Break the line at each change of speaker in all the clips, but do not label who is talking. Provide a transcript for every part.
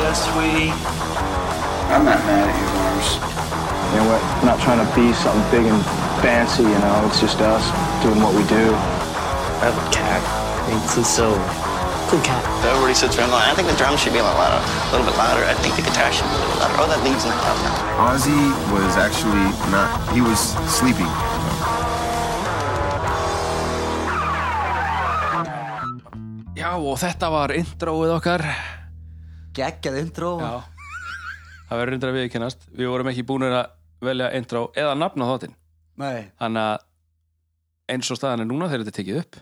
Yeah, sweetie.
I'm not mad at you, Lars.
You know, we're not trying to be something big and fancy, you know, it's just us doing what we do.
I have a cat. It's just so cool cat.
Everybody sits around going, I think the drums should be a little louder, a little bit louder. I think the guitar should be a little louder. Oh, that lead's not loud enough.
Ozzy was actually not, he was sleeping.
Já, og þetta var introið okkar.
geggjað intro
Já. Það verður reyndar að viðkennast. Við vorum ekki búinir að velja intro eða nafna þáttinn.
Nei,
Þannig að eins og staðan er núna þegar þetta er tekið upp,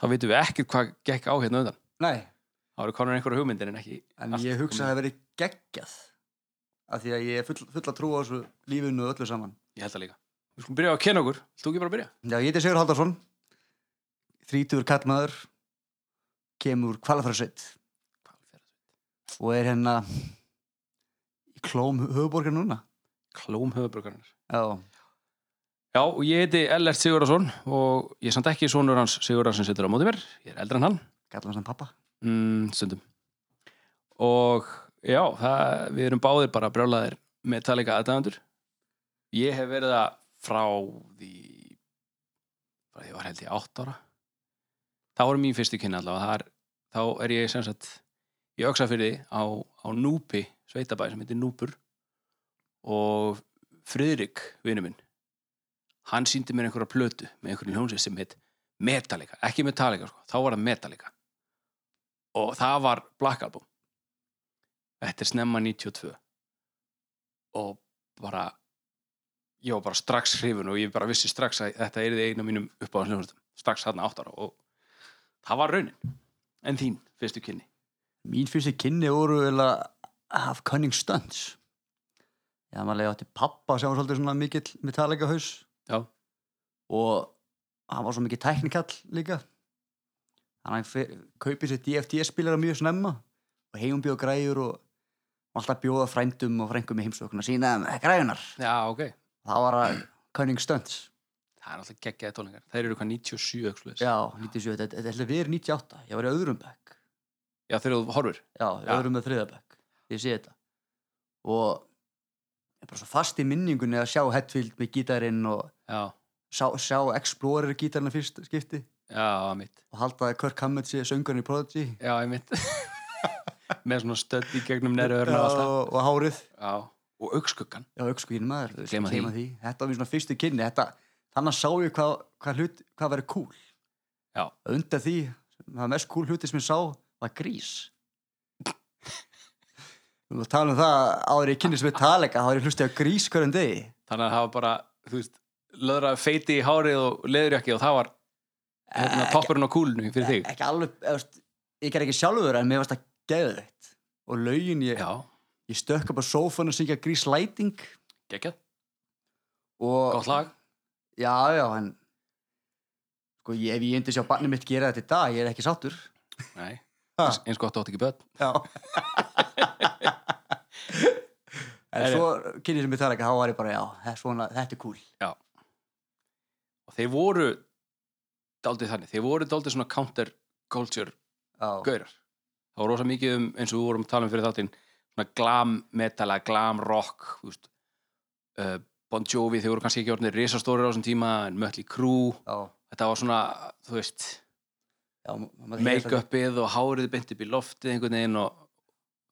þá vitum við ekkert hvað gekk á hérna undan.
nei
Það eru konar einhverja hugmyndir en ekki.
En
allt
ég hugsa
komið.
að það veri geggjað af því að ég er full, full að trúa á þessu lífinu og öllu saman
Ég held það líka. Við skulum byrja á að kenna okkur. Vilt Þú ekki bara byrja?
Já, ég heiti Sigur Haldarsson 30 kallmaður kemur úr kvalafræðsveit og er hérna í klóm höfuborgar núna
Klóm höfubrökkarinn.
Já,
Já, og ég heiti Ellert Sigurðarsson og ég er samt ekki sonur hans Sigurðarsson sittur á móti mér, ég er eldri en hann
kallar hann pappa
mm, stundum og já, það, við erum báðir bara brjálaðir Metallica aðdæðandur ég hef verið það frá því frá því ég var held ég átt ára það voru mín fyrstu kynni allavega Þar, þá er ég sem sagt í öksafyrði á, á Núpi sveitabæði sem heitir Núpur og Friðrik vinnu minn hann síndi mér einhverja plötu með einhverjum hljónsið sem heit Metallica, ekki Metallica sko, þá var það Metallica og það var Black Album þetta er snemma 92 og bara ég var bara strax hrifun og ég bara vissi strax að þetta er einu af mínum uppáðansljóðum strax þarna áttara og það var raunin en þín, fyrstu kynni
Mín fyrstu kynni voru eiginlega af Cunning Stunts Já, maður leiði átti pappa sem var svolítið svona mikill Metallica haus
Já.
og hann var svo mikill tæknikall líka þannig að hann kaupið sér DFT-spilara mjög snemma og heim bjóð græjur og og alltaf bjóða frændum og frængum í heimsókn að sína þeim, "Eh, græjunar
já, ok,
það var að Cunning Stunts
það er alltaf geggjaði tólingar þeir eru hvað 97 ekki svoleiðis.
Já, 97, þetta þetta er alltaf verið 98 ég var í öðrum bekk
já, þeir eru horfur
Já,
Já.
öðrum með þriðabæk Ég sé þetta Og ég er bara svo fast í minningunni að sjá Hetfield með gítarinn og
já,
sjá, sjá Explorer gítarinn að fyrst skipti
já, mitt
og halda að Kirk Hammett sé söngarinn í Prodigy
já, ég mitt með svona stödd í gegnum neru örn og allt það.
og, og hárið
já, og augskuggan
Já, aukskvíðin maður, þú veist,
Gleyma
gleyma því Þetta var mér svona fyrstu kynni þetta, Þannig sá ég hvað, hvað, hlut, hvað verið cool
Já.
Undan því, það mest cool hluti sem ég sá var grís Þú erum að tala um það að árið ég kynni sem við talega þá er ég hlustið á grís hverjum degi
þannig að það var bara, þú veist löðraði feiti í hárið og leðurjakki og það var hérna,
Ekki-
toppurinn á kúlinu fyrir þig
E, Ekki alveg, eða, þú veist, ég ger ekki sjálfur en mér varst að geða þetta og lögin, ég,
já,
ég stökk upp á sófan og syngja grís læting
geggjað,
og
gott lag
Já, já, en sko, ég, ef ég yndi sjá barnið mitt gera þetta í dag, ég er ekki sáttur
Nei,
Ha.
eins, eins gott átt ekki börn
Já En
Herri.
svo kynni sem ég tala ekki, þá var ég bara, já, þetta er svona, þetta er cool
og þeir voru daldið þannig, þeir voru daldið svona counter culture
Já,
gaurar það var rosa mikið um, eins og við vorum að tala um fyrir þáttinn svona glam metala, glam rock þú veist uh, Bon Jovi, þeir voru kannski ekki orðinir risastórir á þessum tíma, en Mötli Crew
já,
þetta var svona, þú veist
já ma- maður-
make-upið og hárið beint upp í loftið einhvern veginn og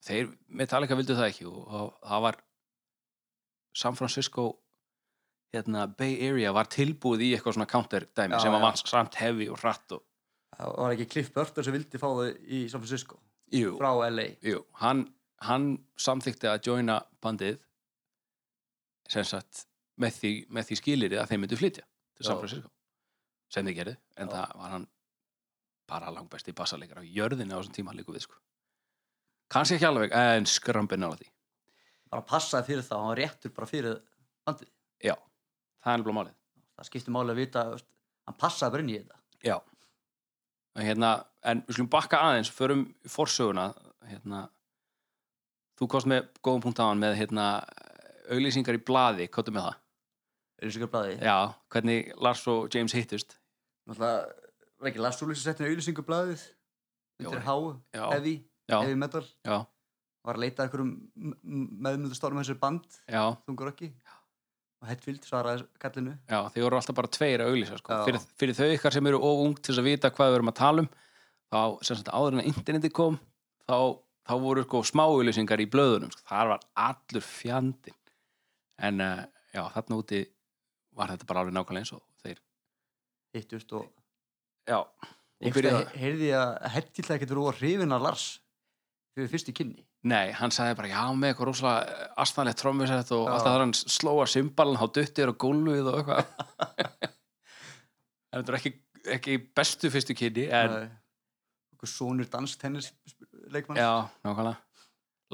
þeir, Metallica vildu það ekki og, og það var San Francisco hérna, Bay Area var tilbúið í eitthvað svona counter dæmi
Já,
sem var
já.
vans, samt hefi og hratt og
Það var ekki Cliff Burton sem vildi fá þau í San Francisco
jú,
frá LA
jú, hann, hann samþykti að joina bandið sem sagt með því, með því skilirið að þeir myndu flytja til San
Já.
Francisco sem þið gerðu, en
Já.
það var hann bara langbæsti bassarleikar á jörðinu á þessum tíma líku við sko kannski ekki alveg, en skrambin nála því
bara passaði fyrir það, hann var réttur bara fyrir bandið,
já, það er nefnilega málið
það skipti máli að vita þú veist, hann passaði bara inn í þetta
Já en, hérna, en við skulum bakka aðeins förum í forsöguna hérna, þú kost með góðum punkt á hann með hérna, auglýsingar í blaði, kóttu með það
auðlýsingarblæði,
Já, hvernig Lars og James hittust
náttúrulega var ekki Lars Úlísson settin auðlýsingarblæðið
Jó,
undir háu,
Já,
heavy,
já,
heavy metal
já,
og var að leita að einhverjum meðmyndustorum þessu band,
já,
þungur ekki og Hetfield svaraði kallinu
já, þeir voru alltaf bara tveir að auglýsa sko.
Já.
fyrir, fyrir þau ykkar sem eru of ung til þess að vita hvað við erum að tala um þá, sem sagt, áður en að interneti kom þá, þá voru sko smá auglýsingar í blöðunum, sko. þar var allur fjandinn en uh, já, þarna úti var þetta bara alveg nákvæmlega eins og þeir
hittust og
já,
ég
byrjaði-
heyrði ég að Hetfield ekkert voru að hrifin að Lars fyrir fyrstu kynni
Nei, hann sagði bara, já, með eitthvað rosalega astanlegt trommisett og
Já.
alltaf þar hann slóa symbalin á duttir og gólfið og eitthvað. En Þetta er ekki, ekki bestu fyrstu kynni, en
Nei. einhver sonur danstennis leikmann
já, nákvæmlega.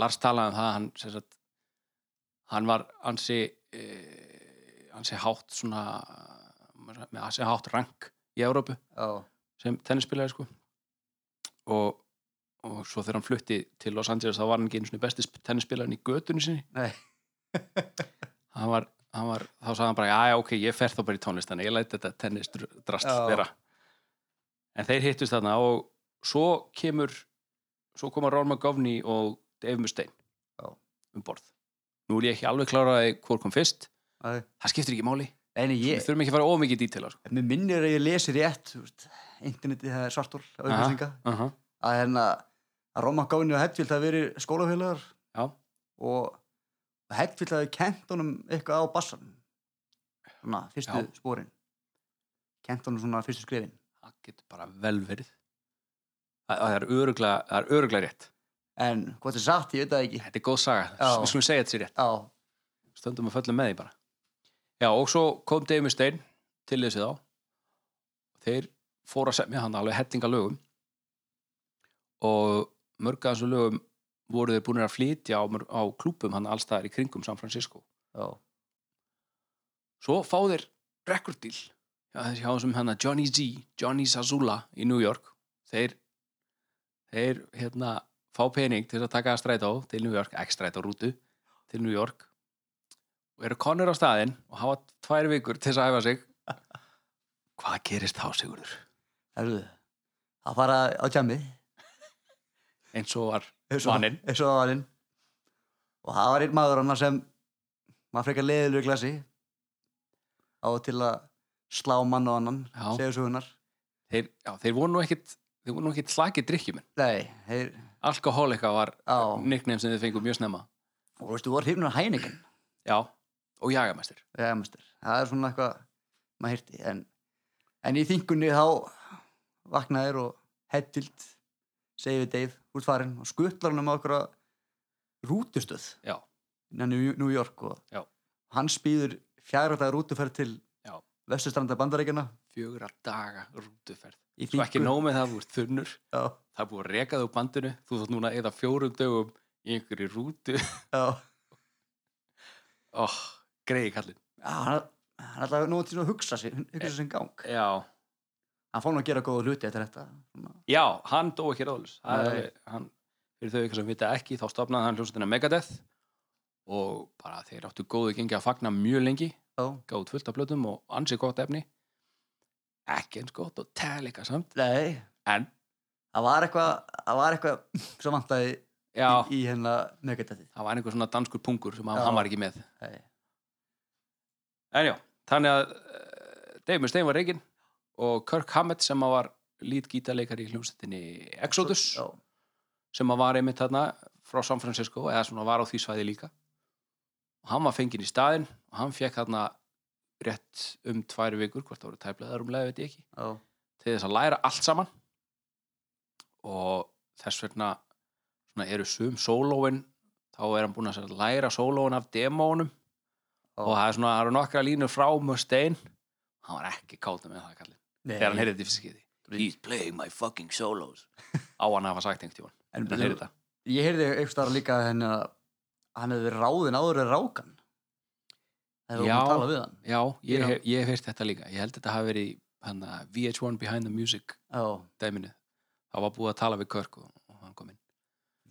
Lars talaði um það, hann, sem sagt, hann var ansi, e, ansi hátt svona, með ansi hátt rank í Európu
já.
sem tennisspilari sko og, og svo þegar hann flutti til Los Angeles þá var hann ekki einu svona besti tennisspilarin í götunni sinni
Nei.
hann var, hann var, þá sagði hann bara já, já, ok, ég fer þá bara í tónlistan ég læt þetta tennisdrast
Já.
vera en þeir hittust þarna og svo kemur svo koma Rón McGovney og Dave Mustaine
Já.
um borð nú er ég ekki alveg kláraði hvor kom fyrst
Nei.
það skiptir ekki máli,
en
við
ég,
þurfum ekki að fara ómikið dítila sko.
mér minnir að ég lesi rétt þú veist, internetið það er svartól á
Aha.
upplýsinga
uh -huh.
að hérna að Roma Gáni og Hetfield hafi verið skólafélagar
Já.
og Hetfield hafi kent honum eitthvað á bassan svona fyrstu
Já.
spórin kent honum svona fyrstu skrifin
það getur bara vel verið það, það er öruglega það er öruglega rétt,
en hvort er satt ég veit það ekki
þetta er góð saga
Já.
við skulum segja þetta sér rétt,
á,
stöndum að föllum með því bara já og svo kom Dave Mustaine til þessi þá þeir fóru að semja hann alveg hellinga lögum og mörg af þessu lögum voru þeir búin að flytja á, mörg- á klúpum hann allstaðar í kringum San Francisco
á,
svo fá þeir rekordíl hjá þess- hjá þessum hérna Johnny Z Johnny Sazula í New York þeir, þeir hérna, fá pening til þess að taka strætó til New York, ekki strætó rútu til New York og eru konur á staðinn og hafa tvær vikur til þess að æfa sig hvað gerist þá Sigurður?
herruðu að fara á tjammi
eins og var
eins og-
vaninn
eins og vaninn og það var einn maður hann sem maður frekar leiðilegu í glasi á til að slá mann og annan
Já.
segja sögunar
þeir, já, þeir voru nú ekkit þeir voru nú ekkit slakið drikkjumenn
nei, þeir
alkohólika var
Já.
nickname sem þeir fengu mjög snemma
og veistu, voru hrifnur af Heineken
já, og jagamæstir
vegamestir, það er svona eitthvað maður hirti, en, en í þingunni þá vaknaðir og hettild segir við Dave út farinn og skuttlar hann um okkur rútustöð
já,
innan New New York og
Já.
hann spýður fjárhættaði rútuferð til
Já.
vesturstranda bandaríkjana
fjögur daga rútuferð
í
Svo ekki
þingu-
nóg með það, þú ert þunnur
já,
Það er búið að reka þig úr bandinu Þú þátt núna eða fjórum dögum í einhverju rútu
já.
oh, Greiði kallinn
Já, hann, hann er alltaf nóg til að hugsa sig hugsa sig gang
já.
hann fór nú að gera góða hluti eftir þetta svona.
já, hann dó ekki ráðlis
Nei.
hann, Fyrir þau ykkur sem vita ekki þá stopnaði hann hljómsveitina Megadeth og bara þeir áttu góðu gengi að fagna mjög lengi
já,
gáðu fullt af blötum og ansi gott efni ekki eins gott og telika samt
nei
en,
það var eitthvað það var eitthvað sem vantaði
já,
í, í hérna megadætið
það var einhver svona danskur pungur sem hann,
Já.
hann var ekki með
Nei.
En já, þannig að uh, Dave Mustaine var reygin og Kirk Hammett sem að var lítgítarleikar í hljómsveitinni Exodus
já,
sem að var einmitt þarna frá San Francisco eða svona var á því svæði líka og hann var fenginn í staðinn og hann fekk þarna rétt um tvær vikur, hvort það voru tæplega rúmlega veit ég ekki,
já,
til þess að læra allt saman og þess vegna svona eru sum sólóin þá er hann búin að sem sagt læra sólóin af demónum
já.
og það er svona, það eru nokkra línur frá Mustaine hann var ekki káta með það kallinn
Nei.
þegar hann heyrði þetta í fyrsta skipti he's playing my fucking solos á hann að hafa sagt einhvern tímann
En
þegar hann heyrði þetta
ég heyrði eitthvað starf líka að henni að hann hefði verið ráðin áður en rákan það hefði
Já.
hún talað við hann
já, ég,
Já.
hef- ég hef heyrt þetta líka ég held að þetta hafi verið hana, VH1 Behind the Music
já,
dæminu það var búið að tala við Körk og, og hann kom inn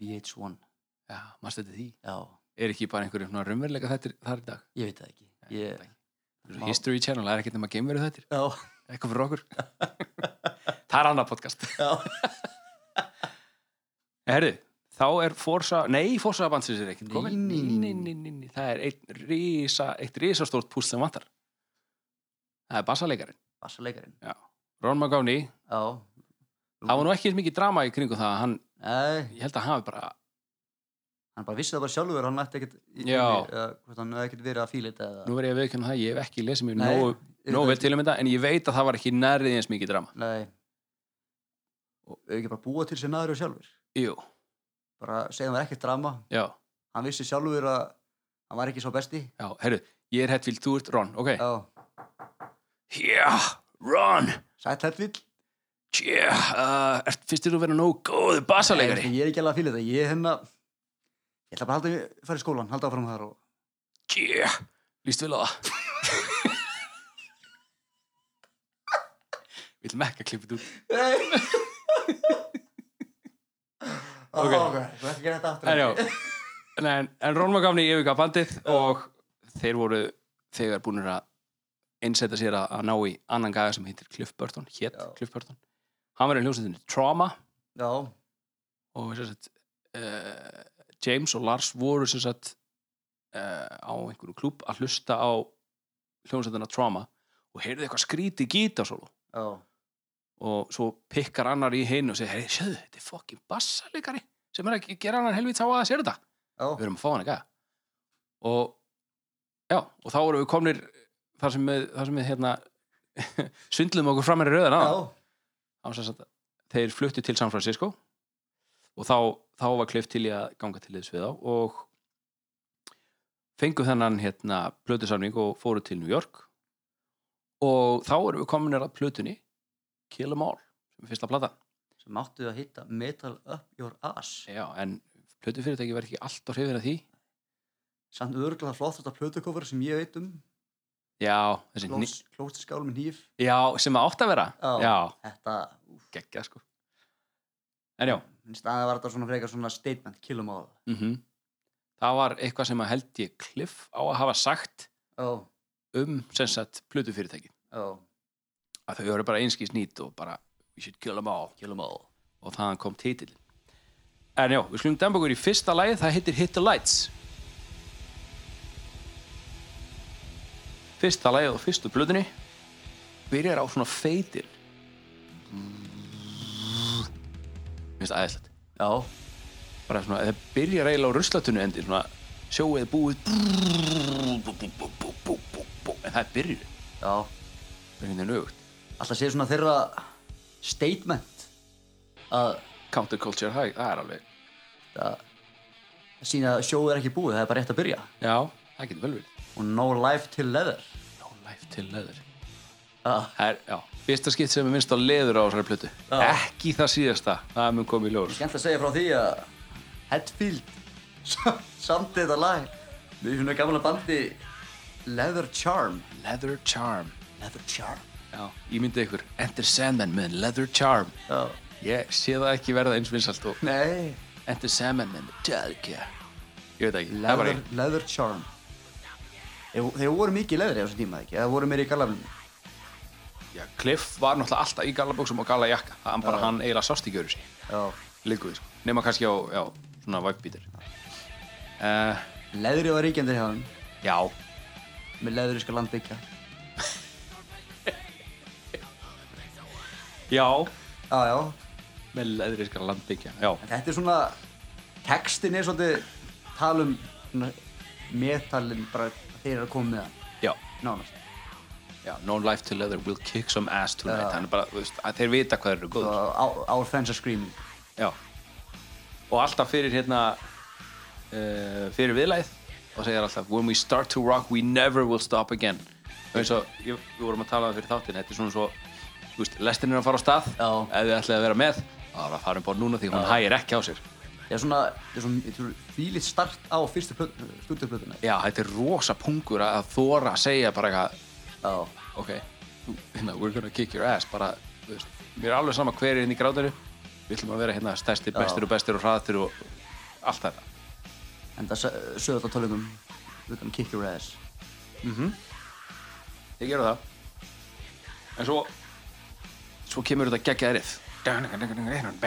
VH1
já, maður stætti því
já,
er ekki bara einhverjum svona raunveruleika þettir þar í dag
ég veit það ekki
Ég
ég,
veit það ekki. History Channel, það er ekkert nema geimveru þettir
já,
eitthvað fyrir okkur það er annað podcast
já
Herðu, þá er Forza, nei Forza Abandons er ekkert komið,
Nei, nei, nei,
nei, nei, nei. það er eitt, risa, eitt risastórt púst sem vantar það er bassaleikarin
Bassalegarinn
Ron McGovney,
Já
það var nú ekki eins mikið drama í kringum það, hann,
Nei,
ég held að hann hafi bara
hann bara vissi það bara sjálfur hann ætti ekkert í-
Já.
eða hvort hann hefði ekkert verið að fíla þetta eða-
nú verð ég að viðkjöna það, ég hef ekki lesið mér
Nei,
nógu,
auðvitað
nógu vel
ekki.
til um þetta en ég veit að það var ekki nærið eins mikið drama
Nei og auðvitað ekki bara búa til sér naður og sjálfur
jú,
bara segja hann var ekkert drama
já,
hann vissi sjálfur að hann var ekki svo besti
já, herru ég er Hetfield, þú ert Ron, ok
Já,
yeah, Ron,
sætt hættvill
yeah uh, ert- finnst þér þú vera nógu góðu bassalegari
Ég er ekki alveg að fíla þetta ég hérna ég ætla bara að halda að fara í skólan halda áfram þar og
yeah, líst vel á það vil mekka klippið út Ok.
Ok, ok, þú ert að gera þetta aftur
en já en, en Ron McGovney yfirgaf bandið og þeir voru þegar búinir að einsetta sér að, að ná í annan gæða sem heitir Cliff Burton hétt
Já.
Cliff Burton hann var í hljómsveitinni Trauma
Já,
og sem sagt, uh, James og Lars voru sem sagt, uh, á einhverju klúb að hlusta á hljómsveitina Trauma og heyrðu eitthvað skríti gítasólu
já,
og svo pikkar annar í hinn og segir, hey, sjöðu, þetta er fokkin bassalegari sem er að gera annan helvít á að sér þetta
já
við erum að fá hann ekki og já, og þá erum við komnir þar sem við, þar sem við hérna svindlum okkur fram með rauðan á
Já,
þess að þeir fluttu til San Francisco og þá, þá var klift til í að ganga til liðs við þá og fengu þennan hérna plötusamning og fóru til New York og þá erum við kominir að plötunni Kill 'em All sem er fyrsta plata
sem áttu að hitta Metal Up Your Ass
já, en plötufyrirtæki verð ekki allt á hrifin af því
samt örgulega það flottasta plötukofur sem ég veit um
já, þessi, hni-
klóstiskál með nýf
já sem það átt að vera
Já.
já
þetta, úf,
geggja sko en já
minnst að það var þetta svona frekar svona statement, killum á það
mm það var eitthvað sem að held ég Cliff á að hafa sagt
já,
um sem sagt plötufyrirtæki
já,
að þau eru bara einskis nýtt og bara we should kill them all, kill them all. og þaðan kom titillin en já, við skulum demba okkur í fyrsta lagi það heitir Hit the Lights fyrsta lagi og fyrstu plötunni byrjar á svona feitir minnst aðeinslegt
já,
bara svona, það byrjar eiginlega á ruslatunni endir svona, sjóið búið en það byrjur
já
það er hérna nögugt
alltaf séð svona þeirra statement að
counterculture, það það er alveg
sína að sjóðu er ekki búið, það er bara rétt að byrja
já, það getur vel verið
og no life till leather
no life til leður
já,
það er, já, fyrsta skipt sem er minnst á leður á þessari plötu
Já.
ekki það síðasta, það mun komið í ljós
skemmt að segja frá því að Headfield samt þetta lag við finnum gamla bandi Leather Charm
leather charm,
Leather Charm
já, ímyndið ykkur Enter Sandman með leather charm
já,
ég sé það ekki verða eins vinsalt og
nei
Enter Sandman með metallica ég veit ekki, það var
Leather,
ekki
leather Charm Þeir, þeir voru mikið í leðri á þessum tíma ekki Það voru meiri í galaflunum
Já, Cliff var náttúrulega alltaf í gallabuxum og gallajakka hann bara, hann eiginlega sást ekki öru sig líkuði, sko. nema kannski á, já, svona væpbítir uh,
Leðri var ríkjandir hjá þeim
já,
Með leðri skal land byggja
já
Já, já
með leðriskar landbyggja, já,
En þetta er svona Textin er svolítið Talum svona, Metalin bara að Þeir eru að koma með það
já,
Nánast
já no life to leather will kick some ass tonight
Já.
hann er bara, þú veist, að þeir vita hvað þeir eru góð
Og á- Our fans are screaming
já, og alltaf fyrir hérna uh, fyrir viðlæð og segir alltaf when we start to rock we never will stop again eins og ég- við vorum að tala um fyrir þáttin þetta er svona svo, þú veist, lestin er að fara á stað
Já.
ef þið ætlaði að vera með þá er að fara um bort núna því hún hægir ekki á sér
Það er svona Það er svona Fílið start á fyrstu stúdíuplötuna
já, þetta er rosa pungur að- að þóra að segja bara eitthvað
Já
ok, þú- hérna, we're gonna kick your ass bara, þú veist, mér er alveg sama hver er inn í grátinu, við ætlum að vera hérna stærsti, bestir og bestir og hraðastir og allt þetta
En það sögur þetta á tölugum We're gonna kick your ass
ég gera það en svo svo kemur þetta geggjaðrið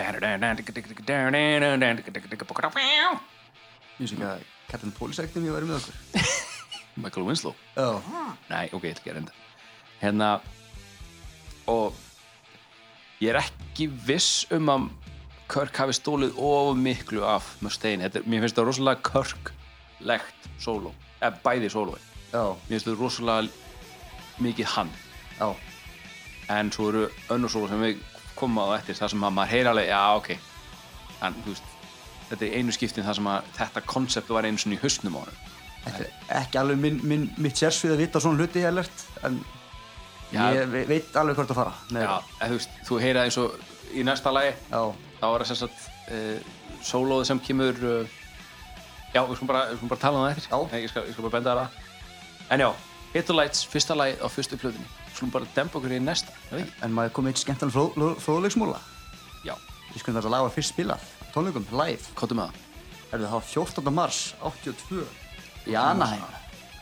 Michael
Ég sé ekki að Captain Police-ektum ég væri með okkur.
Winslow
Já,
Nei, ok, ég ætla ekki að reynda Hérna Og Ég er ekki viss um að Körk hafi stólið of miklu af Mustaine, Þetta, er- mér finnst það rosalega Körk-legt sóló eða bæði sólói,
já,
mér finnst það rosalega mikið hann
já.
en svo eru önnur sóló sem við komum á eftir, það sem að maður heyr alveg já, ok en, þú veist, þetta er einu skiptin það sem að þetta koncept var einu sinni í hausnum á honum
Þetta er ekki alveg minn, minn, mitt sérsvið að vita svona hluti helert, en
Já.
ég ve- veit alveg hvort að fara. Nei,
Já, en, þú veist, þú heyra eins og í næsta lagi
Já,
þá er það sem sagt uh, sólóði sem kemur uh, já, við skulum bara, við skulum bara tala um það eftir
Já.
Nei, ég, skal, ég skal bara benda það en já, Hit the Lights, fyrsta lagi á fyrstu plöðinni skulum bara dempa okkur í næsta er það ekki?
en maður komið eitt skemmtan fró, fró- fróðleiksmúla.
já,
Við skulum þetta laga fyrst spila, tónleikum, live.
kottum með það
Er það þá 14. mars, 82, í Anaheim.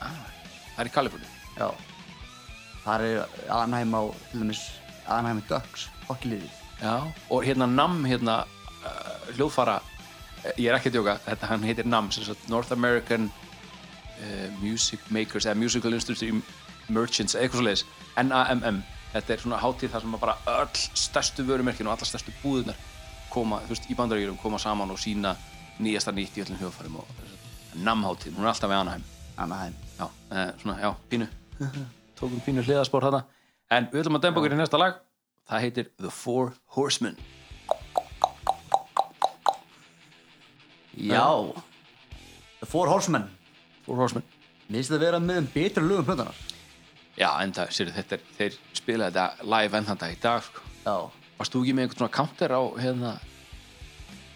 það er í Kaliforni
Já. Þar er Anaheim á, til dæmis, Anaheim Ducks, hockeyliðið.
já, og hérna Nam hérna uh, hljóðfara eh, ég er ekki að djóka, þetta hann heitir Nam sem sagt North American uh, Music Makers eða Musical Institute Merchants eða eitthvað svo leiðis NAMM, þetta er svona hátíð þar sem að bara öll stærstu vörumerkin og allar stærstu búðunar koma, þú veist, í bandaríkjurum koma saman og sína nýjasta nýtt í öllum hljóðfærum og namhátíð, hún er alltaf við Anaheim
Anaheim.
já, eh, svona, já, pínu tókum pínu hliðarspor þarna en við ætlum að dempa okkur í næsta lag það heitir The Four Horsemen
Já. The Four Horsemen.
Four Horsemen
Mér finnst þetta að vera með um betri lögum plöðanar.
já, enda, sér þetta, er- þeir spila þetta live enn þann dag í dag sko.
Já.
varst þú ekki með einhvern svona counter á hérna,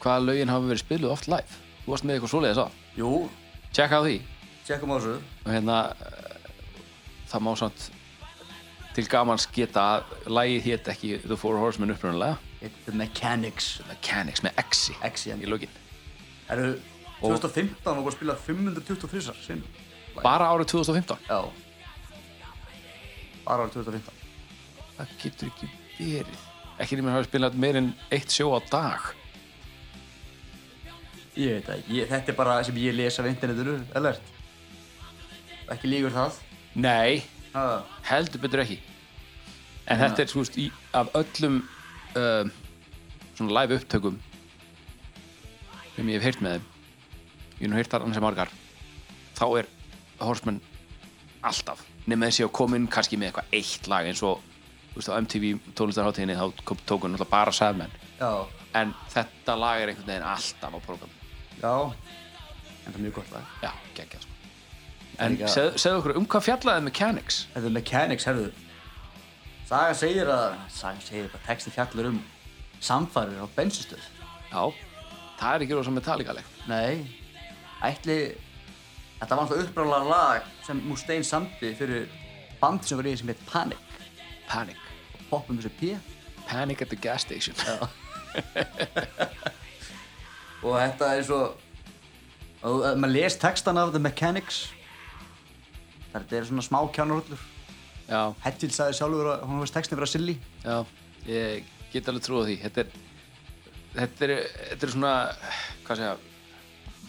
hvaða lögin hafa verið spiluð oft live þú varst með eitthvað svoleiðis á
Jú,
tjekka á því
tjekkum á þessu.
og hérna eh, það má samt til gamans geta að lagið hétt ekki The Four Horsemen upprunalega
It's The Mechanics.
Mechanics með X-i
X-i, já.
í lokin
Eru 2015 og bara spila 523 sinn.
bara árið 2015
Já. Bara árið 2015.
það getur ekki verið ekki nema að hafa spilað meir en eitt sjó á dag
Ég veit það, ég, þetta er bara sem ég lesa af internetinu, alert. Ekki líkur það.
nei,
Ha.
heldur betur ekki en þetta er, þú veist, í, af öllum um, svona live upptökum sem ég hef heyrt með þeim ég hef nú heyrt þar annars margar þá er Horseman alltaf, nema þessi að koma inn kannski með eitthvað eitt lag eins og þú veist, á MTV tónlistarháttíðinni þá kom- tók hann náttúrulega bara Sadman
Já.
en þetta lag er einhvern veginn alltaf á prógram
Já. En það er mjög gott lag.
já, geggjað sko. en
Líka-
segð- segðu okkur, um hvað fjallaði Mechanics
Þetta er Mechanics, herðu Sagan segir að Sagan segir að texti fjallur um samfærir á bensinstöð
já, það er ekki rosa metallikalegt
Nei, ætli Þetta var alltaf uppræðlega lag sem Mustaine samti fyrir band sem var í sem heit Panic
Panic,
Poppum þessu P
Panic at the gas station já,
og þetta er svo og ef maður les textan af The Mechanics þetta er svona smá kjánurhullur
já,
Hetfield sagði sjálfur að hún veist textin vera silly
ég get alveg trúið því þetta er þetta er, þetta er svona hvað segja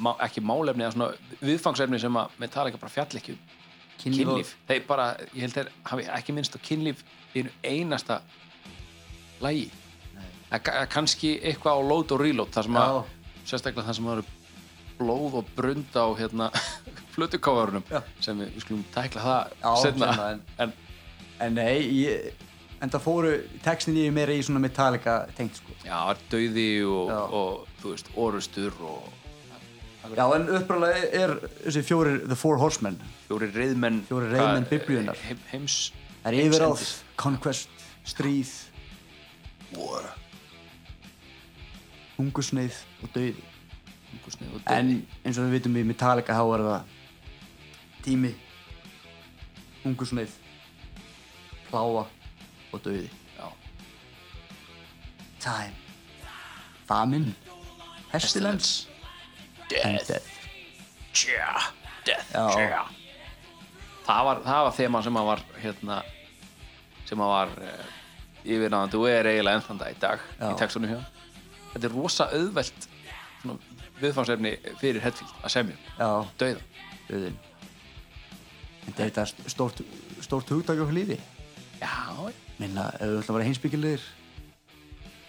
má, ekki málefni, eða svona viðfangsefni sem að Metallica bara fjall ekki um kynlíf, þeir bara, ég held þeir hafi ekki minnst á kynlíf í einu einasta lægi það er kannski eitthvað á load og reload þar sem að,
Já.
sérstaklega þar sem að eru blóð og brund á hérna flutukofurunum
Já.
sem við, við skulum tækla það
Já,
seinna.
seinna, en-
en
En nei, ég, en það fóru textin í meira í svona Metallica tengt sko.
já, það er dauði og,
Já.
og þú veist, orustur og
Já, en uppræðlega er þessi fjórir The Four Horsemen.
fjóri reyðmenn
Fjórir reiðmenn
hvað-
Biblíunnar.
heim, heims
Það er yfiráð,
heimsendis.
Conquest, Stríð, War, Hungusneið og Dauði.
hungursneyð og
En
dauði.
eins og við vitum í Metallica þá er það Tími, Hungusneið, Pláa og Dauði.
Já.
Time, Famine, Pestilence, and Death.
yeah, death,
Já.
yeah það var, það var þema sem að var hérna, sem að var uh, yfirnáðandi og er eiginlega enn þann dag í dag
Já.
í textunum hjá honum. þetta er rosa auðvelt svona, viðfangsefni fyrir Hetfield að semja um
já,
dauða
auðin en þetta er stórt stórt hugtak okkur lífi
já,
minna, ef við ætlum að vera heimsbyggilegir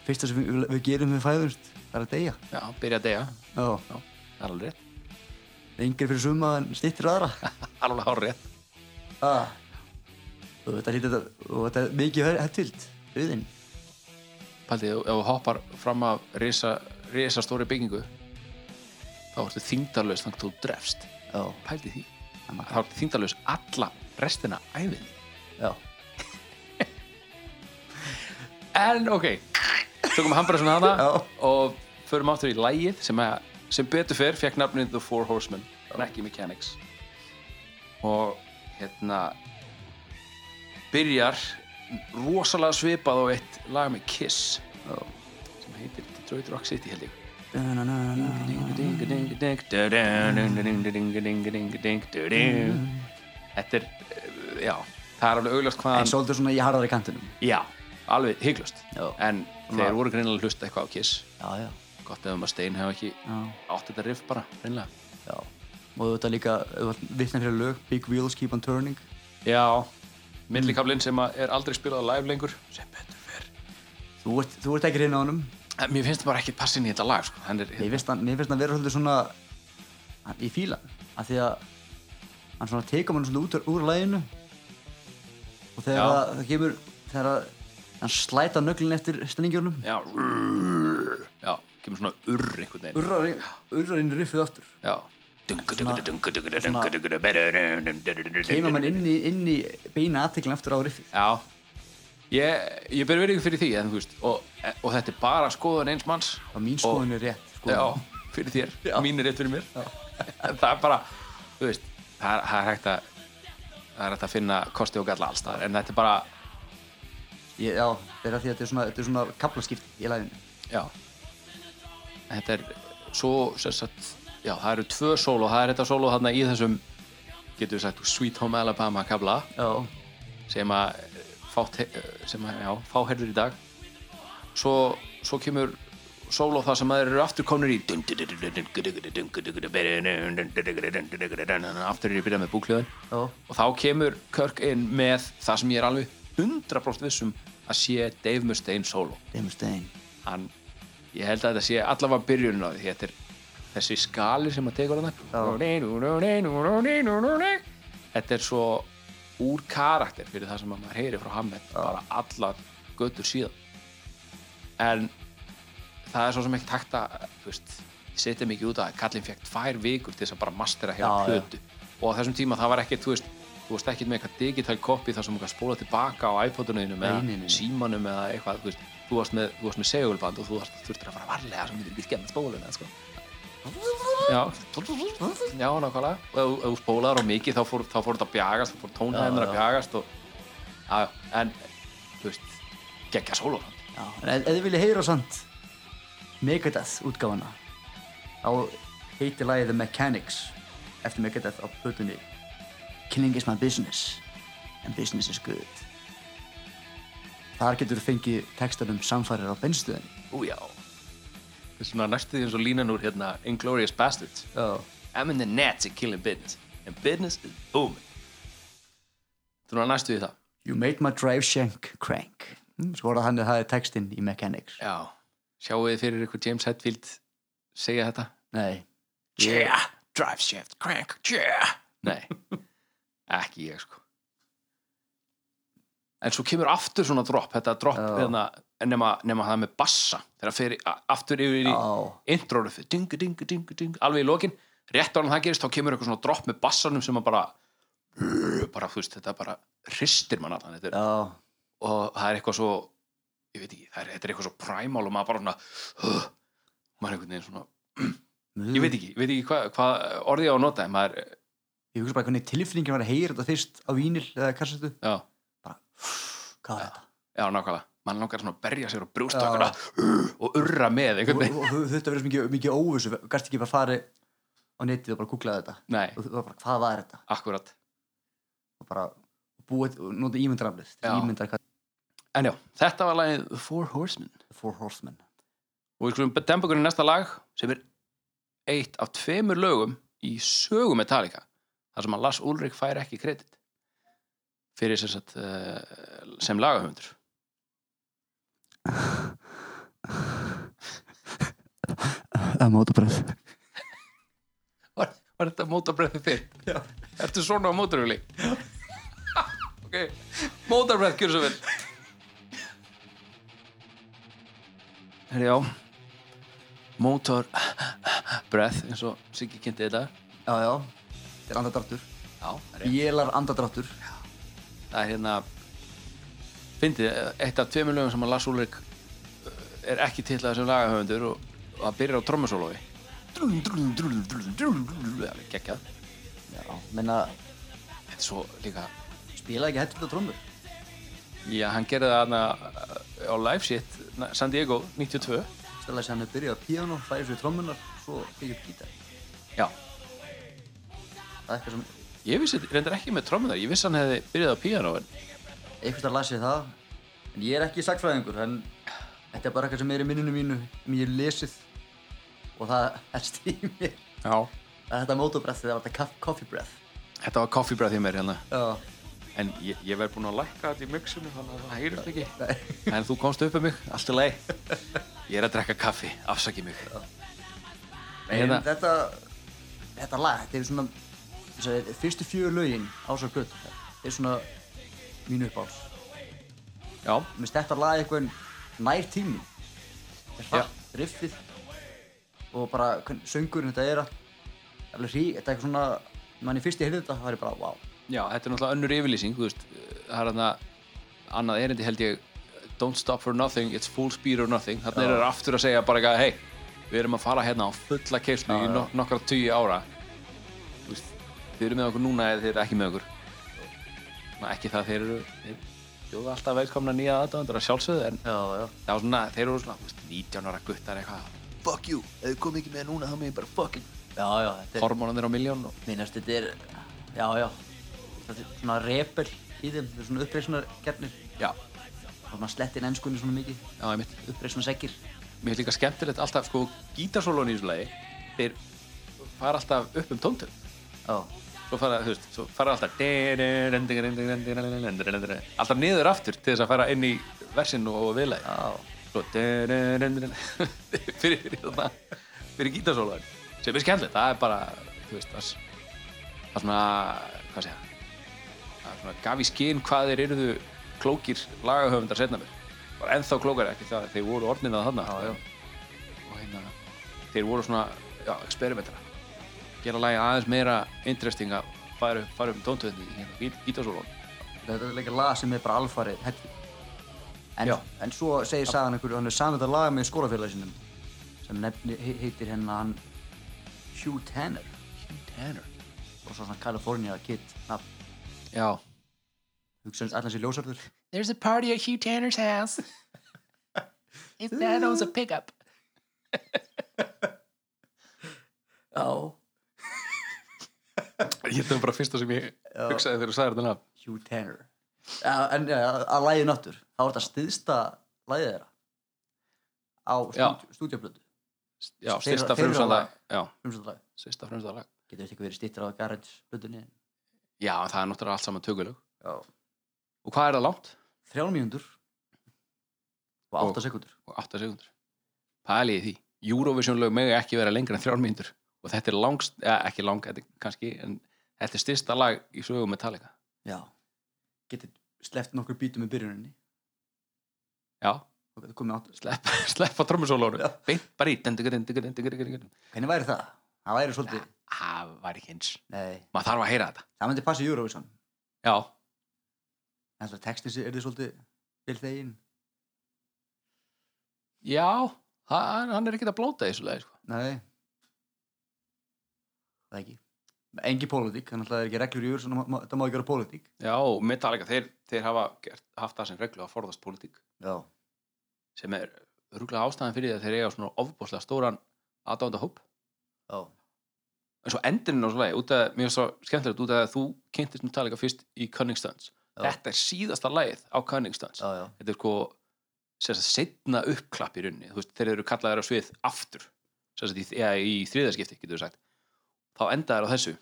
fyrsta sem við, við gerum við fæðumst það er að deyja
já, byrja að deyja
já,
já, það er alveg rétt
yngri fyrir suma en stittir aðra
alveg hár rétt
ah. og þetta lítið og þetta er mikið hættild auðin,
Paldið, ef þú hoppar fram af risa, risa stóri byggingu þá ertu þingdarlaus þannig að þú drefst
já,
pældi því
Amma.
þá ertu þingdarlaus alla restina æfið
já
en ok tökum hambara svona hana
Já.
og förum áttur í lægið sem, að, sem betur fer fekk nafnið The Four Horsemen en ekki Mechanics og hérna byrjar rosalega svipað á eitt lag með Kiss sem heitir Detroit Rock City held ég Þetta er, eh, já, það er alveg augljóst
en
hvaðan,
svolítið svona í harðari kantinum
já, alveg hygglust
Já.
En þeir voru greinilega að hlusta eitthvað á Kiss
já, já,
Gott ef um að Stein hefur ekki
já,
átt þetta riff bara, greinilega
já og þetta líka, vittna fyrir lög Big Wheels Keep on Turning
Já, millikablinn sem að er aldrei spilað live lengur sem betur fer
þú ert, þú ert ekki reyna á honum
En Mér finnst það bara ekki passin í þetta lag, sko Hann er,
Mér finnst hann, mér finnst hann vera svolítið svona hann- ég fíla hann af því að hann svona tekur mann svolítið út úr, úr læginu og þegar
Já.
það, það kemur þegar að hann slæta nöglinn eftir stendingjörnum
já, rrrr, já, kemur svona urr einhvern veginn
urrar inn í riffið aftur
Já
kemur mann inn í, inn í beina aðteklinn aftur á riffið
Já Ég, ég ber verið fyrir því en, þú veist, og, og þetta er bara skoðun eins manns
og mín skoðun er rétt
og,
sko.
Já,
skoðun.
fyrir þér, mín er rétt fyrir mér Það er bara þú veist, það, er- það er hægt að það er hægt að finna kosti og galla alls þar en þetta er bara,
ég, já það er að því að þetta er svona, þetta er svona kaplaskipt í læginu
já þetta er svo sem sagt, já, það eru tvö sóló það er þetta sóló þarna í þessum getur við sagt Sweet Home Alabama kabla
já,
sem að fátt, sem að, já, fáherður í dag svo, svo kemur sól og það sem að þeir eru aftur komnir í aftur er ég byrjað með búkljóðin
já,
og þá kemur Kirk inn með það sem ég er alveg 100% vissum að sé Dave Mustaine solo
demur stein
hann, ég held að þetta sé allavega byrjunin á því þetta er þessi skali sem að tegur hann þetta er svo úr karakter fyrir það sem að maður heyri frá Hammett bara allar göttur síðan en það er svo sem ekki takt að þú veist, ég setja mikið út að kallinn fekk tvær vikur til þess að bara mastera
Já,
hérna
já.
plötu og á þessum tíma það var ekkert, þú veist þú veist ekkert með eitthvað digital copy þar sem þú kannast spóla tilbaka á iPod-unniðinu
Nei, nei, nei, nei.
með símanum eða eitthvað, þú veist þú varst með, þú varst með segulband og þú varst, þurftir að fara varlega sem myndir við skemmt spóluna sko. já já, nákvæmlega og ef, ef þú spólaðar á mikið þá fór, þá fór þetta að bjagast þá fór tónhæðinar að bjagast og, já, já, en, þú veist geggja sólóðan
Já, en ef ef þið viljið heyra samt Megadeth útgáfana þá heitir lagið The Mechanics eftir Megadeth á plötunni Killing is my business and business is good Þar getur þú fengið textanum samfærir á benstöðin
Újá Það er svona næstu því eins og línan úr hérna Inglorious Bastards
Já,
I'm in the net to killing business and business is booming Svona næstu því það
You made my drive shank crank Mm, Svo var það hann að það er textinn í Mechanics
Já Sjáu þið fyrir ykkur James Hetfield segja þetta
Nei,
Yeah, drive shaft, crank, yeah Nei, ekki ég sko En svo kemur aftur svona drop Þetta drop
Já.
hérna, nema, nema það með bassa Þegar fyrir aftur yfir í
á,
introruffið, dingu, dingu, dingu, dingu alveg í lokin, rétt ára en það gerist þá kemur eitthvað svona dropp með bassanum sem að bara bara, þú veist, þetta bara hristir mann allan, þetta er,
já,
og það er eitthvað svo ég veit ekki, það er, þetta er eitthvað svo primal og maður bara svona uh, maður er einhvern veginn svona,
Hm.
ég veit ekki, ég veit ekki hvað hva orðið ég á að nota, en maður
Ég hugsa bara hvernig tilfinningin var að heyra þetta fyrst á vínil eða kassetu
já,
Hvað er þetta?
já, nákvæmlega, mann langar svona að berja sér og brjósta
Já.
okkur uh, og urra með einhvern
og
veginn,
og þetta verður svo mikið, mikið óvissu gæst ekki bara farið á netið og bara googlaði þetta
nei,
og þú var bara, hvað var þetta
akkurat
og bara búið, og nota ímyndaraflið
Já.
ímyndar hvað
En já, þetta var lagið The Four Horsemen
The Four Horsemen
og við skulum dempa okkur í næsta lag sem er eitt af tveimur lögum í sögu Metallica þar sem að Lars Ulrik fær ekki kredit fyrir sem, sagt, uh, sem lagahöfundur
Það er mótabræð
Var, var þetta mótabröðið þitt? Já. Ertu svona á mótaröfli? Já. ok, mótabröð, gjör svo vel. Herri, já. Mótarbröð, eins og Siggi kynnti þetta.
Já, já, þetta er andadráttur
Já, rétt.
Vélar andadráttur
það er hérna, fyndið, eitt af tveimur lögum sem að Lars Ulrik uh, er ekki titlað sem lagahöfundur og, og það byrjar á trommusólói. Drúlum, drúlum, drúlum, drúlum, drúlum, drúlum, það er geggjað.
Já, menna,
Þetta er svo líka...
spila ekki hættur þetta trómur
Já, hann gerði það hana á live shit, na- San Diego 92
Stella sem hann er byrjað á píano, færi svo í trómunar Svo tekið upp gítar
Já,
Það er eitthvað sem,
ég vissi, reyndar ekki með trommunar ég vissi hann hefði byrjað á piano en
eitthvað þar las ég það En ég er ekki sagfræðingur, en Þetta er bara eitthvað sem er í minninu mínu Mér er lesið Og það helst í mér
Já
að Þetta mótabræð, þetta var þetta kaff- coffee breath
Þetta var koffibræð því mér hérna
Já,
En ég, ég verð búinn að lækka þetta í mixinu þannig að það heyrist ekki En þú komst upp um mig, allt í lagi Ég er að drekka kaffi, afsaki mig
en
Hérna,
þetta Þetta lag, þetta er svona þessi, Fyrstu fjögur lögin ásar gutt Þetta er svona mínu uppáls
já,
Mér finnst þetta lag eitthvað nær tími Þetta er hratt, riffið og bara hvern, söngurinn þetta er að alveg hrí, þetta er eitthvað svona mann ég fyrst ég heyrði þetta, það var ég bara, wow
já, þetta er náttúrulega önnur yfirlýsing þú veist, Það er hann annað erindi held ég Don't stop for nothing, it's full speed or nothing Þannig er það aftur að segja bara eitthvað Hei, við erum að fara hérna á fulla keilslu í nok nokkra tugi ára Þú veist, Þið eru með okkur núna eða þið eru ekki með okkur Ná, Ekki það þeir eru þeir Jóða alltaf velkomna nýja aðdöndur að sjálfsögðu En
Já, já,
það var svona, þeir eru svona þú veist, 19 ára guttar eitthvað
Fuck you, ef þið kom ekki með núna þá með ég bara fucking
já, já þetta er,
Hormónan er á miljón og
minnast þetta er já, já, þetta er svona rebel í þeim, þetta er svona uppreisunar kefnir
Já,
og maður sletti inn ennskunni svona mikið
já, ég mitt
uppreisunar segir
Mér er líka skemmtilegt alltaf sko gítarsólón í þessu lagi Þeir fara alltaf upp um tóntöð
Já,
Svo fara, þú veist, svo fara alltaf Alltaf niður aftur til þess að fara inn í versinu og viðlagi
já,
svo fyrir, fyrir, þarna, fyrir gítarsólaðin sem er skemmtilegt, það er bara þú veist, það, það er svona hvað segja það er svona gaf í skinn hvað þeir eruðu klókir lagahöfundar setna mér bara ennþá klókari ekki það þeir voru orðnir að þarna já, já. og hérna þeir voru svona já, experimentara gera lagi aðeins meira interesting að fara, upp- fara upp um tóntöðinni í hérna, gítarsólaðin
þetta er líka lag sem er bara alfarið hellu en,
Já.
en svo segir sagan einhverju hann er saman þetta lag með skólafélagi sinum sem nefni, he- heitir henn hann Hugh Tanner
Tanner
og svo svona California Kid nafn
já
hugsaðins allan sér ljósarður
There's a party at Hugh Tanner's house. His dad owns a pickup.
Já
Ég þetta var bara fyrsta sem ég hugsaði þegar þú sagði þetta nafn.
Hugh Tanner ja, en ja, að lagið náttur þá er þetta stiðsta lagið þeirra á stúdíu- stúdíóplötu
Já,
Þeirra-
sista
þeirra
frumstæða
lag.
Já,
frumstæðlag
sista frumstæða lag
getur þetta ekki verið stýttir á Garage plötunni
Já, en það er náttúrulega allt saman tökulög
Já.
Og hvað er það langt?
þrjálf mínútur og
Og-
átta sekundur
Og 8 sekundur Pæliði því, Eurovision lög megi ekki vera lengra en 3 mínútur Og þetta er langst, eða ekki lang, þetta er kannski En þetta er styrsta lag í sögu Metallica
Já. Getið sleppt nokkur bítum í byrjuninni.
Já,
Og það komið átt.
slepp, slepp á trommusólónu
Já.
Beint bara í dendu, dendu, dendu, dendu, dendu.
Hvernig væri það? Það væri svolítið.
Það var ekki eins
Nei.
Maður þarf að heyra þetta
Það myndi passa í Eurovision.
Já,
En það textin er þið svolítið vil þegin.
já, hann, hann er ekkert að blóta í þessu lagi sko.
Nei. Það ekki. Engi pólitík. Þannig að það er ekki reglur í Eurovision. ma- ma- Það má ekki vera pólitík.
Já, Metallica, þeir, þeir hafa gert, haft það sem reglu að forðast pólitík
Já.
sem er rúglega ástæðan fyrir því að þeir eiga svona ofbúslega stóran aðdánda hóp
Já.
en svo endurinn á svo lagi, út að, mér er svo skemmtilegt út að þú kynntist Metallica fyrst í Cunning Stunts þetta er síðasta lagið á Cunningstons
já, já,
þetta er sko sérst, setna uppklapp í rauninni, þú veist, þeir eru kallaðar á svið aftur, sérst, í, ja, í þriðaskipti getur við sagt, þá enda þær á þessu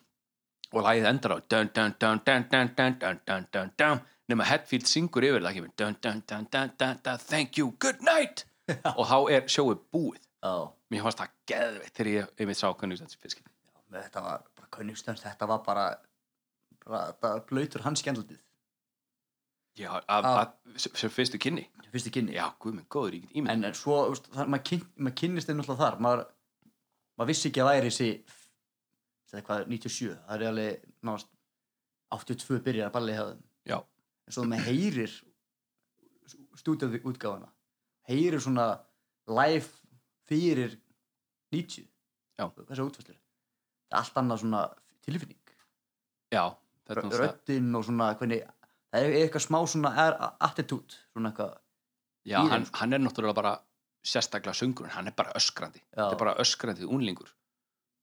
og lagið endar á dun dun dun dun dun dun dun dun dun dun nema Hetfield syngur yfir það kemur dun dun dun dun dun dun thank you, good night og þá er sjóið búið
já.
mér fannst það geðveitt þegar ég einmitt sá Cunningstons fiskir
Með Þetta var bara kunningstönd, þetta var bara, bara þetta var blöytur hans skendaldið.
Já, af,
Af-
af, sem sem fyrstu kynni
Fyrstu kynni.
Já, guð minn, góður, ég get ímynd
En, en svo, þú veist, það, maður, kyn, maður kynnist þeim náttúrulega þar. Maður, maður vissi ekki að væri þessi, þetta er hvað, 97. Það er alveg náttúrulega 82 byrjar að ballið hjá þeim.
Já,
en svo með heyrir stúdíu útgáfuna heyrir svona live fyrir 90
Já.
þessar útfæslur það er allt annað svona tilfinning
já, þetta er náttúrulega
röddinn og svona hvernig það er eitthvað smá svona er, attitude svona eitthvað
Já,
í þeim,
hann, hann er náttúrulega bara sérstaklega söngurinn, hann er bara öskrandi
Já.
þetta er bara öskrandi unglingur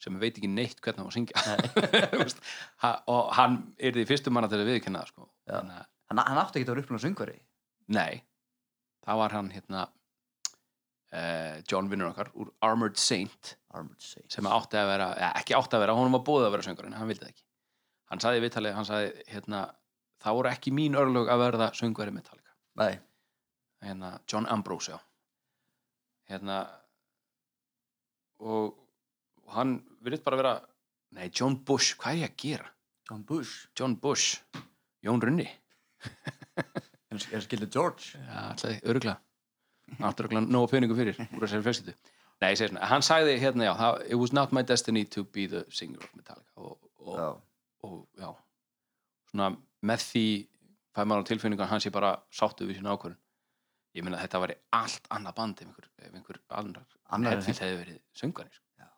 sem veit ekki neitt hvernig hann á að syngja Þú veist, ha- og hann er því fyrstu manna til að viðkynna það, sko.
Já.
Þannig að,
hann, hann átti ekki að vera upplunar söngveri
nei, það var hann hérna uh, John vinnur okkar úr Armored Saint
Armored Saints
sem átti að vera, eða, ekki átti að vera honum var búið að vera söngurinn, hann vildi það ekki hann sagði viðtalið, hann sagði hérna, það voru ekki mín örlög að verða söngveri Metallica,
Nei,
hérna John Ambrose já. hérna og, og hann virðist bara vera nei, John Bush, hvað er ég að gera?
John Bush
John Bush, Jón Runni
en er skildið George
Já, ætlaði, öruglega Náttúrulega nóg peningum fyrir úr þessari fjölskyldu Nei, ég segi svona, hann sagði hérna já það, It was not my destiny to be the singer of Metallica og, og,
Já.
og já svona með því fæ maður á tilfinningan hans ég bara sáttu við sína ákvörðun ég meina þetta væri allt annað band ef einhver, ef einhver annar
Annar en
hefðið hefði verið söngarnir
Já.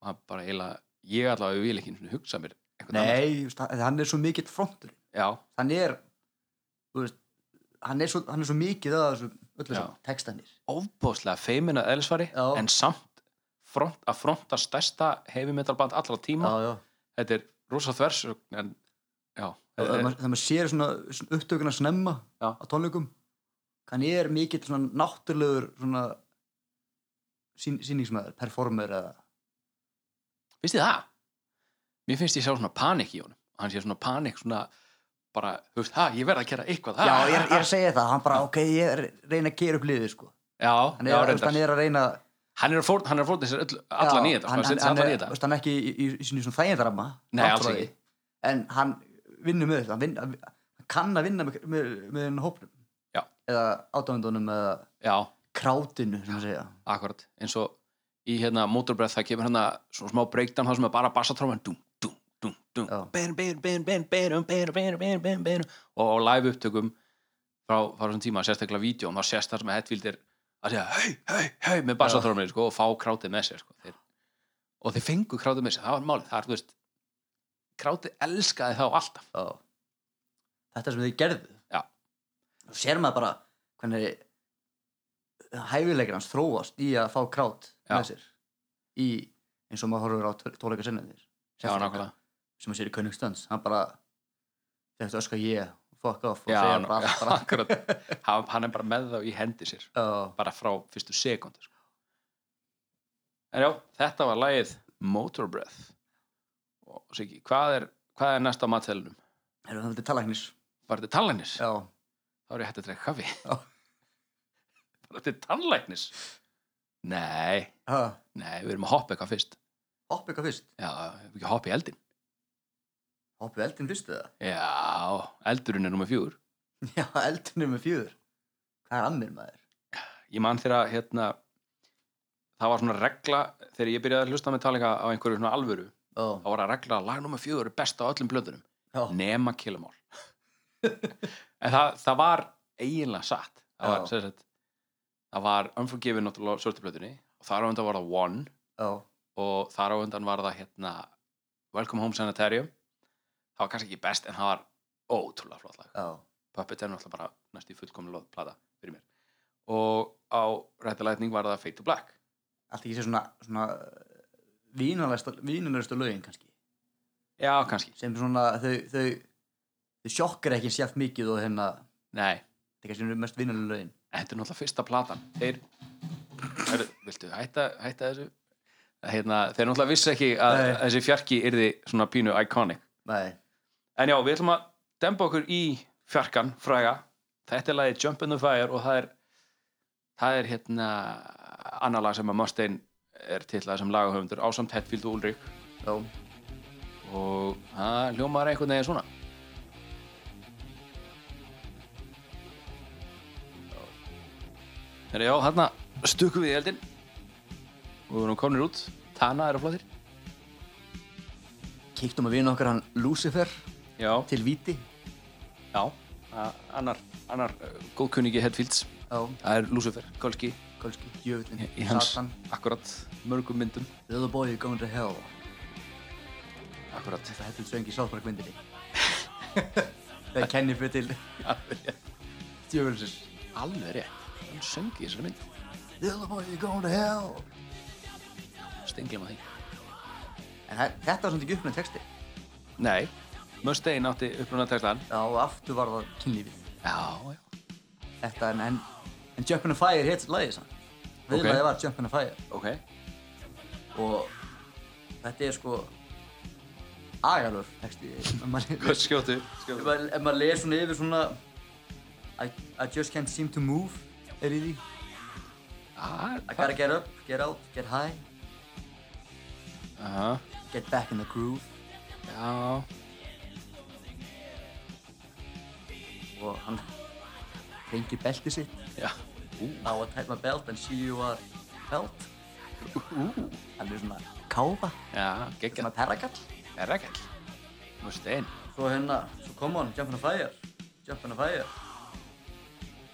og hann bara eiginlega ég allavega vil ekki einu sinni hugsa mér einhvern annan.
Nei, just, hann hann er svo mikill frontur
já,
hann er þú veist, hann er svo, hann er svo mikið að þessu
Já.
öllu þessu textanir
ofbóðslega feimina eðlisvari
Já.
en samt front, að fronta stærsta heavy metal band allra tíma
já
þetta er rosa þvers en já, þetta
þegar
er,
maður, þegar maður sér svona, svona upptökuna snemma
Eh, Já.
á tónleikum kannski er mikill svona náttúrulegur svona sín, síningsmaður, performer eða
finnst þið það? mér finnst ég sjá svona panik í honum hann sé svona panik svona bara, þú veist, ha, ég verð að gera eitthvað ha,
já, ég er, ég er að segja það, hann bara, ok, ég er að reyna að gera upp liðið, sko
já,
hann
já,
er, já,
reyndar.
hann er að reyna
hann er að fórna hann er að fórna sér öll,
já,
allan í þetta
hann,
sko, hann, hann,
hann, hann,
allan í
er,
þetta
veist, hann er ekki í, í, í sinni svona þægindaramma
Nei,
langt frá
alls
því.
ekki.
en hann vinnur með þetta hann, vinn, hann hann kann að vinna með, með, með henni hópnum
Já.
eða átöfundunum eða
já,
krátinu, sem að segja
akkurat, eins og í hérna Motor Breath það kemur hérna svona smá breakdown það sem er bara bassatróman dum, dum, dum, dum
Já.
berum, berum, berum, berum, berum, berum, berum, berum, berum, berum og á live upptökum frá, frá þessum tíma, sérstaklega vídeo og maður sérst það sem að Hetfield er að segja hei, hei, hei, með bassatróman sko, og fá krátið með sér sko, þeir, og þeir fengu krátið með sér, það var málið það er, þú veist, krátið elskaði þá alltaf
Já. þetta sem þið gerðu
Já.
og sér maður bara hvernig hæfileikir hans þróast í að fá krát með
Já.
sér í eins og maður horfur á tóleika sinnið
já, nákvæmlega
sem að sér í Königstönds hann bara þetta öskar ég fuck off og
já,
segja
ná-
bara
já,
allt bara
akkurat, hann hann er bara með þá í hendi sér
Já.
bara frá fyrstu sekundu sko. en já, þetta var lagið Motor Breath og Siggi, hvað er, hvað er næst á matselunum?
Heyrðu, það er talagnis
Bara til tannlæknis?
já,
Þá er ég hætt að drega kaffi
Já.
Bara til tannlæknis? Nei,
ha,
nei, við erum að hoppa eitthvað fyrst
hopp eitthvað fyrst
Já, við erum ekki að hoppa í eldin
hoppu eldin fyrst eða
Já, eldurinn er nummer fjúr
já, eldin er með fjöður hvað er ammir maður
ég man þegar að, hérna, það var svona regla þegar ég byrjaði að hlusta með talinga á einhverju svona alvöru þá
já,
var að regla að lag nummer fjögur er best á öllum blöndunum
já,
nema killamál en það, það var eiginlega satt það var,
Já.
sem sagt, það var Unforgiven náttúrulega sörtu blöndunni og þar á undan var það One
já,
og þar á undan var það hérna, Welcome Home Sanitarium það var kannski ekki best en það var ótrúlega flott lag
já,
Puppet er náttúrulega bara næstu í fullkomlega plata fyrir mér og á rættalætning var það Fade to Black
allt ekki sé svona, svona vínulegstu lögin kannski
já kannski
sem svona þau, þau þau sjokkar ekki sjátt mikið og hérna það
Nei,
er kannski mest vinnulega lögin
þetta er náttúrulega fyrsta platan þeir Heru, viltu hætta, hætta þessu hérna, þeir náttúrulega vissi ekki að
Nei.
þessi fjarki yrði svona pínu iconic
Nei,
en já, við ætlum að demba okkur í fjarkan fræga þetta er lagið Jump in the Fire og það er það er hérna annar lag sem að Mustaine er titlað sem lagahöfundur ásamt Hetfield og Ulrik
já,
og það hljómaður einhvern veginn svona Þegar já, hérna stukkum við í eldin og við erum komnir út Tana eru flottir
kíktum að vinna okkar hann Lucifer
Já,
til viti
já a- annar, annar uh, góðkunningi Headfields
Já,
það er Lucifer, Kolski
kannski, jöfullin,
í í hans,
Satan
akkurat mörgum myndum,
The other boy going to hell
akkurat
Þetta heldur söng í sáttmarkmyndinni Það er kenni fyrir til Djöfulsins
alveg rétt, hann söngi í þessari mynd
The other boy going to hell
stengið maður því
En þa- þetta var svona ekki uppnæð texti
Nei, Mustaine átti uppruna textan
Já, og aftur var það kynlífið
Já, já
Þetta en, en, en Jumpin' a Fire hétt lagið sann Viðlagið
Ok.
var Jumpin' a Fire
Ok,
Og þetta er sko agalur texti ef maður-
skjóttu,
Ef
skjóttu
maður ef maður les svona yfir svona I, I just can't seem to move er í því I gotta get up, get out, get high
Aha,
Get back in the groove
já,
og hann hringir belti sitt
já,
á að tæma belt en see you are belt hann er svona káfa
já,
svona
geggjað,
perrakall
er ekki Mustaine,
svo hérna, svo come on, jump on a fire jump on a fire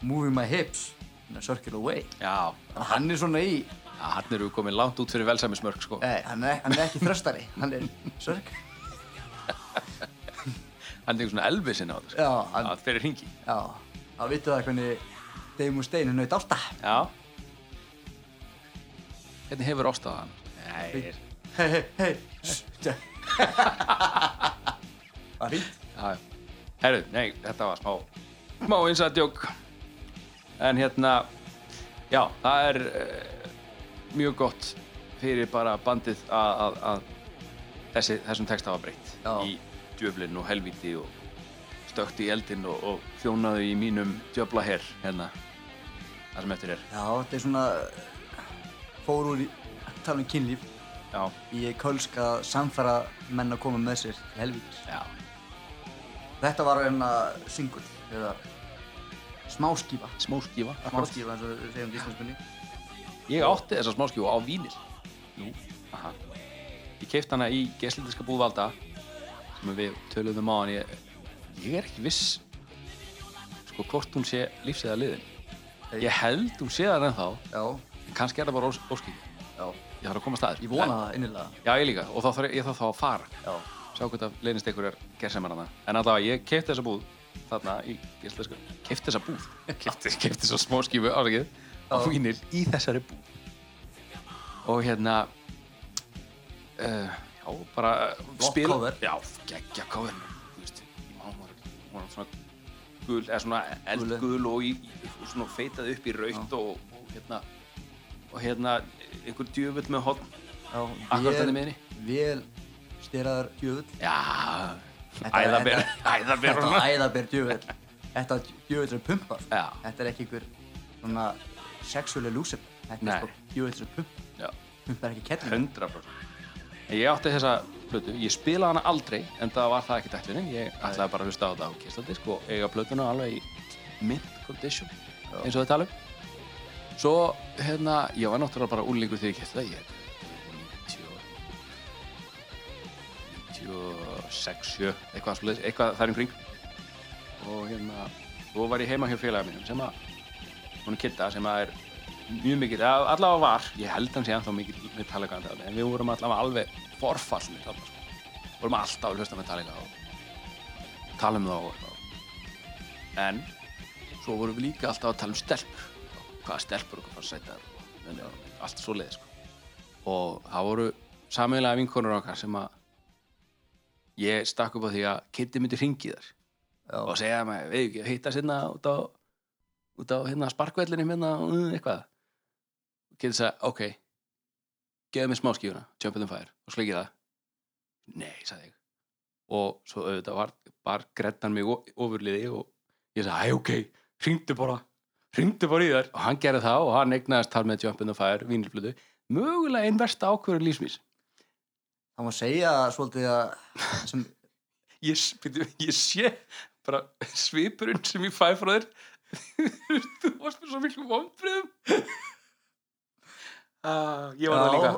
moving my hips in a circular way
já,
Þannig að hann er svona í
já, hann eru komin langt út fyrir velsæmismörk, sko
Nei, hann er, hann er ekki þröstari hann er sörg
Hann er svona elvisinn á þetta, sko
já, hann,
Það fyrir hringi
já, þá vittu það hvernig Dave Mustaine er naut ásta
Já Hvernig hefur ástæða hann? Nei,
hei, hei, hei shh. var fínt
já, já Herru, nei, þetta var smá smá insadjók En hérna, já, það er uh, mjög gott fyrir bara bandið að, að, að þessi, þessum texta var breytt
Já.
í djöflin og helvíti og stökkt í eldin og, og þjónaðu í mínum djöfla herr hérna, það sem eftir er
já, þetta er svona fór úr í tala um kynlíf
Já,
í kölsk að samfara menn að koma með sér til helvítis.
já,
Þetta var hérna singull, eða smáskífa.
smáskífa akkurat.
Smáskífa eins og við segjum í íslenskunni.
Ég átti þessa smáskífu á vínil Nú, aha Ég keipt hana í geslindiska búðvalda sem við töluðum á hann ég, ég er ekki viss sko hvort hún sé lífs eða liðin Ég held hún sé það ennþá
Já,
en kannski er það bara ós, óskífi
já.
Ég þarf að koma staður
Ég vona það innilega.
Já, ég líka og þá þarf ég, ég þarf þá að fara
Já.
Sjá hvort að leynist ykkur er gersemmarana En allavega, ég keipti þessa búð þarna í geslindiska Keipti þessa búð Keipti, keipti þessa smáskífu ásakið á vínil í þessari búð og hérna uh, já, bara
Flott cover.
já, geggja cover þú veist, hún var, hún var svona gul, eða svona eldgul og, í, í- og svona feitað upp í raukt og, og hérna og hérna, einhver djöfull með hotn
Já,
Akkurat
vel-
þannig meini.
Vel styrraðar djöfull.
já,
Þetta-
æðaber
þetta-
æðaber
Þetta var æðaber djöfull. Þetta djöfull er pumpar.
Já.
Þetta er ekki einhver svona sexually lúsum. Þetta
Nei.
er sko djöfull er pumpar.
já,
Pumpar ekki kettlum.
100% En ég átti þessa plötu, ég spilaði hana aldrei en það var það ekki dætlinni, ég ætlaði bara að hlusta á þetta á kistaldisk og eiga plötuna alveg í mint condition eins og við talum Svo, hérna, ég var náttúrulega bara úlingur þegar ég kefti það, ég 90 96, 7, eitthvað svoleiðis, eitthvað þar um kring og hérna, svo var ég heima hjá félaga mínum sem að hún er kitta sem að er mjög mikill, eða allavega var ég held hann sé ennþá mikill með talega en við vorum allavega alveg forfallnir þarna sko. vorum alltaf að hlusta með talega og tala um það og eitthvað en svo vorum við líka alltaf að tala um stelpur og hvaða stelpur okkur fannst sæta og allt svo leiði sko. og það voru sameiginlega vinkonur okkar sem að ég stakk upp á því að Kitty myndi hringi þar
Já.
og segja maður, við ekki hitta sinna út á, út á hérna sparkvellinu hérna og uh, eitthvað getur þess að, ok gefðu mér smá skífuna, jump in the fire og sleikið það, nei, sagði ég og svo auðvitað var bara grettan mig o- ofurliði og ég sagði, æ, ok, hringdu bara hringdu bara í þær og hann gerði það og hann eignaðist þar með jump in the fire, vínilblödu mögulega einn versta ákvörður lífsmís
Það má segja svolítið að sem,
ég, s- bíddu, ég sé bara svipurinn sem ég fæ frá þér þú varst með svo miklu vonbröðum uh, ég var það líka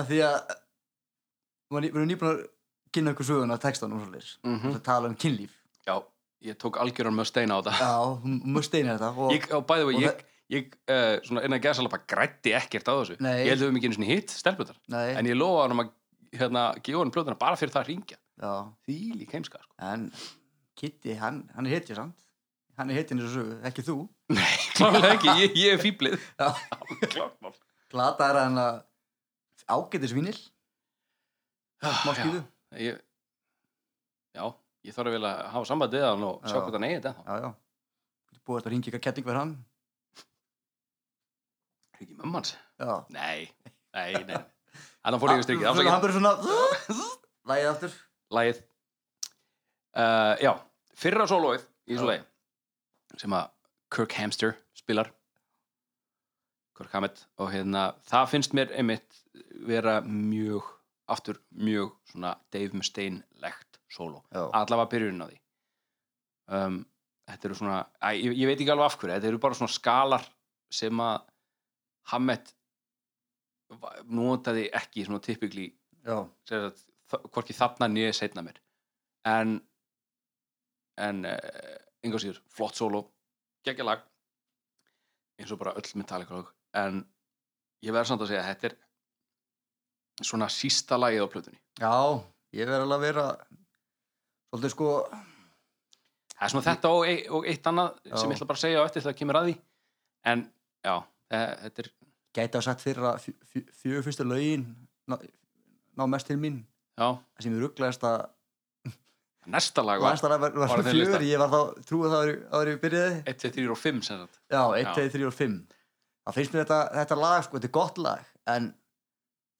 að því að við erum nýbúin að kynna ykkur söguna af textanum og svolítið mm
Mhm.
að tala um kynlíf
já, ég tók algjöran með steina á þetta
já, hún must einu þetta og
ég, og bæði og
og
ég, ég uh, svona innan gæðsalega bara grætti ekkert á þessu
Nei.
ég held við mig ekki einu sinni hitt stelpunar
nei,
en ég lofa hann að hérna, gefa hann plötuna bara fyrir það að ringja
já,
því lík heimska sko.
en Kitty, hann, hann er hetjur samt hann er hetjur í þessu sögu, ekki þú
klálega ekki, ég, ég er fýblið
Já.
klármál
glata er hann að ágætis vínil, má
Ah, já,
skýðu
ég, já, ég þarf vel að hafa samband við hann og sjá
Já.
hvað hann eigi þetta
já, já, búið að ringa ykkar ketting verð hann
þá ekki mömmu hans
já,
nei, nei, nei hann fór ég að strikið,
Svona, hann
afsakið
byrður svona lægið aftur
lagið uh, já, fyrra sólóið í þessu
Já.
lagi sem að Kirk Hamster spilar Kirk Hammett og hérna, það finnst mér einmitt vera mjög aftur mjög svona Dave Mustaine-legt sóló
já,
allavega byrjunin á því um, þetta eru svona æ, ég, ég veit ekki alveg af hverju, þetta eru bara svona skalar sem að Hammett va- notaði ekki svona typikli
já,
sagt, þ- hvorki þarna nýja setna mér en en uh, yngur síður, flott solo geggja lag eins og bara öll Metallica lög en ég verður samt að segja að þetta er svona sísta lagið á plötunni
já, ég verð alveg að vera svolítið sko
Það er svona þetta og, ei- og eitt annað sem
Já.
ég ætla bara að segja á eftir þegar það kemur að því en já, e, þetta er
gæti á sagt fyrir að fjö- fjö- fjögur fyrstu lögin ná, ná mest til mín
já,
það sem ég rugglaðist að
næsta lag var
last að var, var
Var á þeim
fjögur,
lista.
ég var þá trúið það aður ég byrjaði
1, 2, 3 og 5 sem sagt
já, 1,
Já.
2, 3 og 5 þá finnst mér þetta, þetta lag, sko, þetta er gott lag en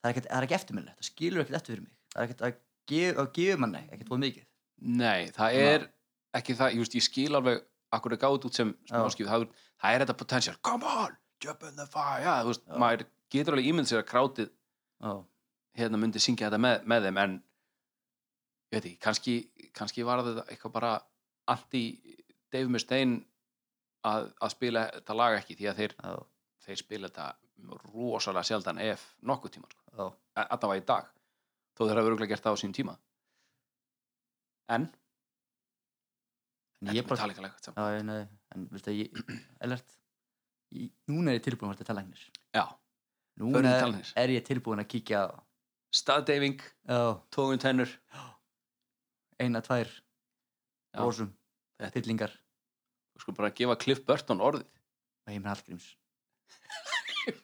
það er ekkert, það er ekki eftir minni það skilur ekkert eftir fyrir mig það er ekkert að gefa, að gefa manni, ekkert búið mikið
Nei, það
Svona-
er ekki það, ég, veist, ég skil alveg akkur er gáð út sem smáskif það, er- það er þetta potential, come on jump in the fire, já, þú veist,
Já.
maður getur alveg ímynd sér að krátið
já,
hérna myndi syngja þetta með, með þeim en ég veit ekki, kannski, kannski var þetta eitthvað bara allt í Dave Mustaine að, að spila þetta lag ekki því að þeir
já,
þeir spila þetta rosalega sjaldan ef nokkuð tíma sko.
já,
alltaf að í dag þó þeir hafa örgulega gert það á sín tíma en
en ég bara
Metallica lag, samt.
já, ég, nei, en veistu, ég, elert ég, núna er ég tilbúin að vera talangnir
já, Förum
núna
í
er,
tannlæknis.
er ég tilbúin að kíkja á-
staðdeifing,
já,
tógun tennur
eina, tvær
Já.
rósum,
Þetta-
pillingar
við skulum bara gefa Cliff Burton orðið
og heimir Hallgríms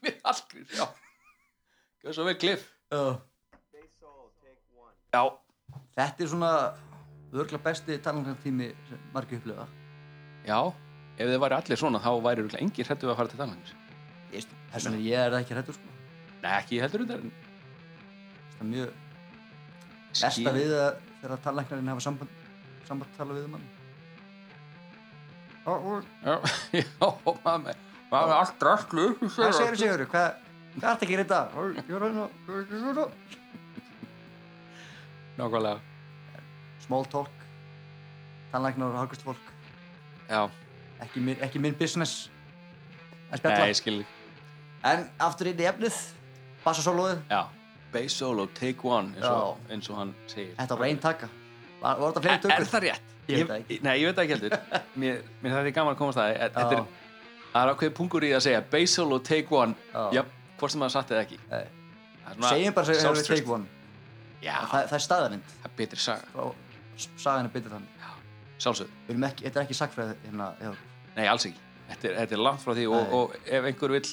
við allgrið, já gaf svo vel Cliff
oh.
já,
þetta er svona örgla besti talangatími sem margir upplifa
já, ef þið væri allir svona þá væri örgulega engin hrættu að fara til talangs
Ég- þess vegna ég er það ekki hrættur sko.
nei, ekki ég heldur þetta en
það er mjög besta við að þegar talangarinn hafa samband samband tala við mann og og-
já, já, maður með maður með allt rætlu
hvað segir þessi höru hvað hvað er þetta ekki reynda og ég er að reyna- ég er að reyna-
nákvæmlega
small talk talangarinn og hagust fólk
já,
ekki, minn- ekki minn business
nei,
að spjalla
ég skil þig.
en aftur inn í efnið bassasólóið
Já, bass solo, take one eins og,
Já.
eins og hann segir
Þetta var einn taka Var, var þetta fleiri
Er
tökur?
það rétt?
Ég veit það ekki.
Nei, ég veit það ekki heldur Mér, mér þetta er gaman að komast að því. Þetta er,
Já.
það er ákveð pungur í að segja bass solo, take one
Já.
Já, hvort sem maður satt eða ekki
Nei.
Það er svona
Segjum bara sem hefur
sjálfstraust.
take one
Já,
Þa, Það er staðarind
það er betri saga
Frá sagan er byttið þannig
Sjálfsög,
Við erum ekki, Þetta er ekki sagfræð hérna, já,
nei, alls ekki Þetta er, þetta er langt frá því og,
Nei.
og ef einhver vill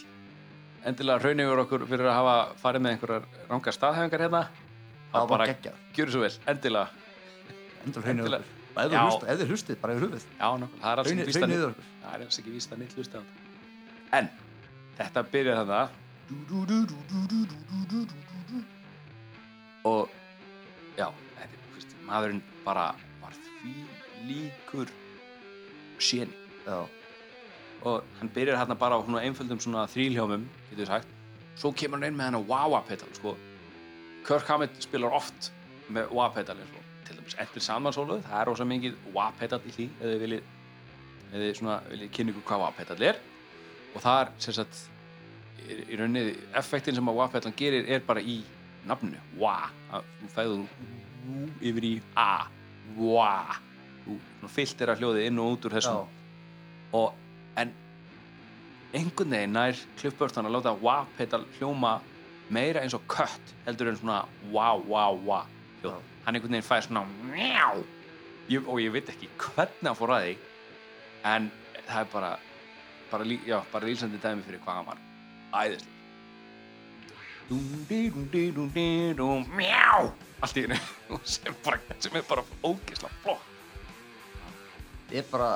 endilega raunir okkur fyrir að hafa farið með einhverjar rangar staðhæfingar hérna
Það var
bara
geggjað
gjöru svo vel, endilega
Endur hreinu
Endilega.
okkur Og ef þið
Já.
hlustið, ef þið hlustið, bara yfir höfuð.
Já, nokkuð, það er alls ekki
Hraunið-
víst að neitt
hraunið yfir okkur.
Það er alls ekki víst að neitt hlusta á þetta En, þetta byrjar þannig Og, já, þetta, er, þú veist, maðurinn bara var því líkur séni
Já.
og hann byrjar hérna bara á svona einföldum svona þrýljómum, getur við sagt svo kemur hann inn með hennar wah-wah-pedal sko. Kirk Hammett spilar oft með wah-pedal eins og til dæmis eftir samansóluð, það er rosa mikið wah-pedal í því, eða þið viljið eða þið svona viljið kynna ykkur hvað wah-pedal er og það er sem sagt í í rauninni, effektin sem að wah-pedalan gerir er bara í nafninu wah, að þú fæður þú yfir í a wah, þú svona fyllt er að hljóði inn og út úr þessum og en einhvern veginn nær klippbörtan að láta wah-pedal hljóma meira eins og kött heldur en svona wah-wah-wah hljóð hann einhvern veginn fær svona mjá ég, og ég veit ekki hvernig hann fór að því en það er bara bara, lí, já, bara lýsandi dæmi fyrir hvað hann var æðislega dum-di-dum-di-dum-di-dum mjá allt í hennu sem, bara- sem er bara ógisla flott
Ég er bara,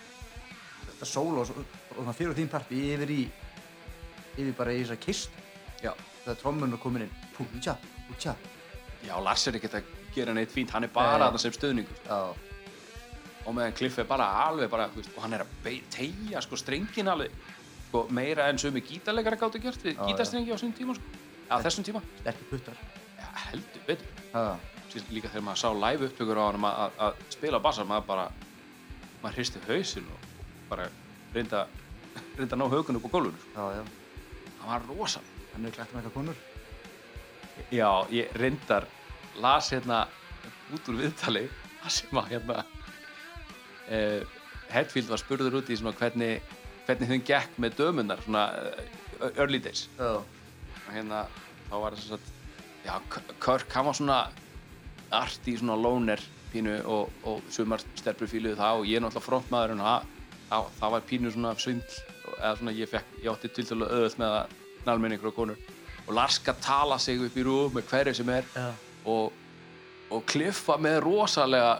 þetta sóla og svo- og svona fyrir þín part yfir í, yfir bara í þessa kist.
Já.
Þegar trommun er komin inn, pútja, pútja.
já, Lars er ekkert að gera neitt fínt hann er bara
Nei.
þarna sem stöðningur
Já.
og meðan Cliff er bara alveg bara, þú veist, og hann er að be- teygja sko strengin alveg sko, meira enn sömu gítarleikara gáttu gert við
já.
gítarstrengi á þessum tíma sko. á þessum tíma,
Sterkir puttar.
ja, heldur betur
Já.
Síðan líka þegar maður sá live upptökur á hann að, að spila á bassar, maður bara maður hristi hausinn og bara reynda, reynda að ná haugun upp á gólfinu sko.
Já, já.
það var rosalega
Hann er klætt með eitthvað konur.
Já, ég reyndar las hérna út úr viðtali þar sem að hérna uh, Hetfield var spurður út í svona hvernig, hvernig þeim gekk með dömunar svona uh, early days
Já.
og hérna þá var þess að já, K- Kirk hann var svona arti svona loner pínu og, og sumar stelpur fíluðu það og ég er náttúrulega frontmaður en það, það, það var pínu svona svindl eða svona ég, fekk, ég átti til dælu öðvöld með að nálmenni ykkur og konur og Larska tala sig upp í rúf með hverju sem er
Já.
og, og kliffa með rosalega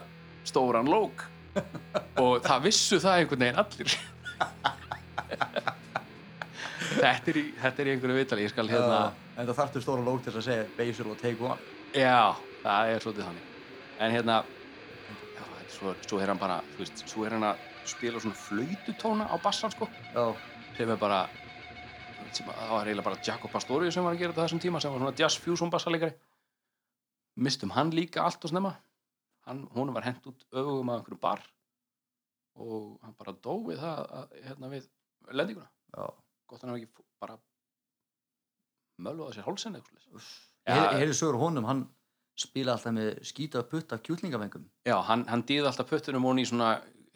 stóran lók og það vissu það einhvern veginn allir þetta, er í, þetta er í einhverju vitali ég skal hérna
En það þarftu stóra lók til þess að segja basil og take one.
Já, það er svolítið þannig En hérna já, þetta er svo, svo er hann bara, þú veist Svo er hann að spila svona flöytutóna á bassan sko
Já.
Sem er bara sem, að- Það var eiginlega bara Jacob Pastorius sem var að gera þetta á þessum tíma Sem var svona jazz fusion bassalegari Mistum hann líka allt og snemma hann, Hún var hent út öfugum að einhverju bar Og hann bara dó við það að, Hérna við lendinguna
Já.
Gott hann hafi ekki fó- bara Mölvaði sér hálsinn eða eitthvað svoleiðis.
Ég
Já.
heyri- ég heyrði sögur honum, hann spila alltaf með skýta putta af kjúklingavengum.
Já, hann, hann dýði alltaf puttunum hún í svona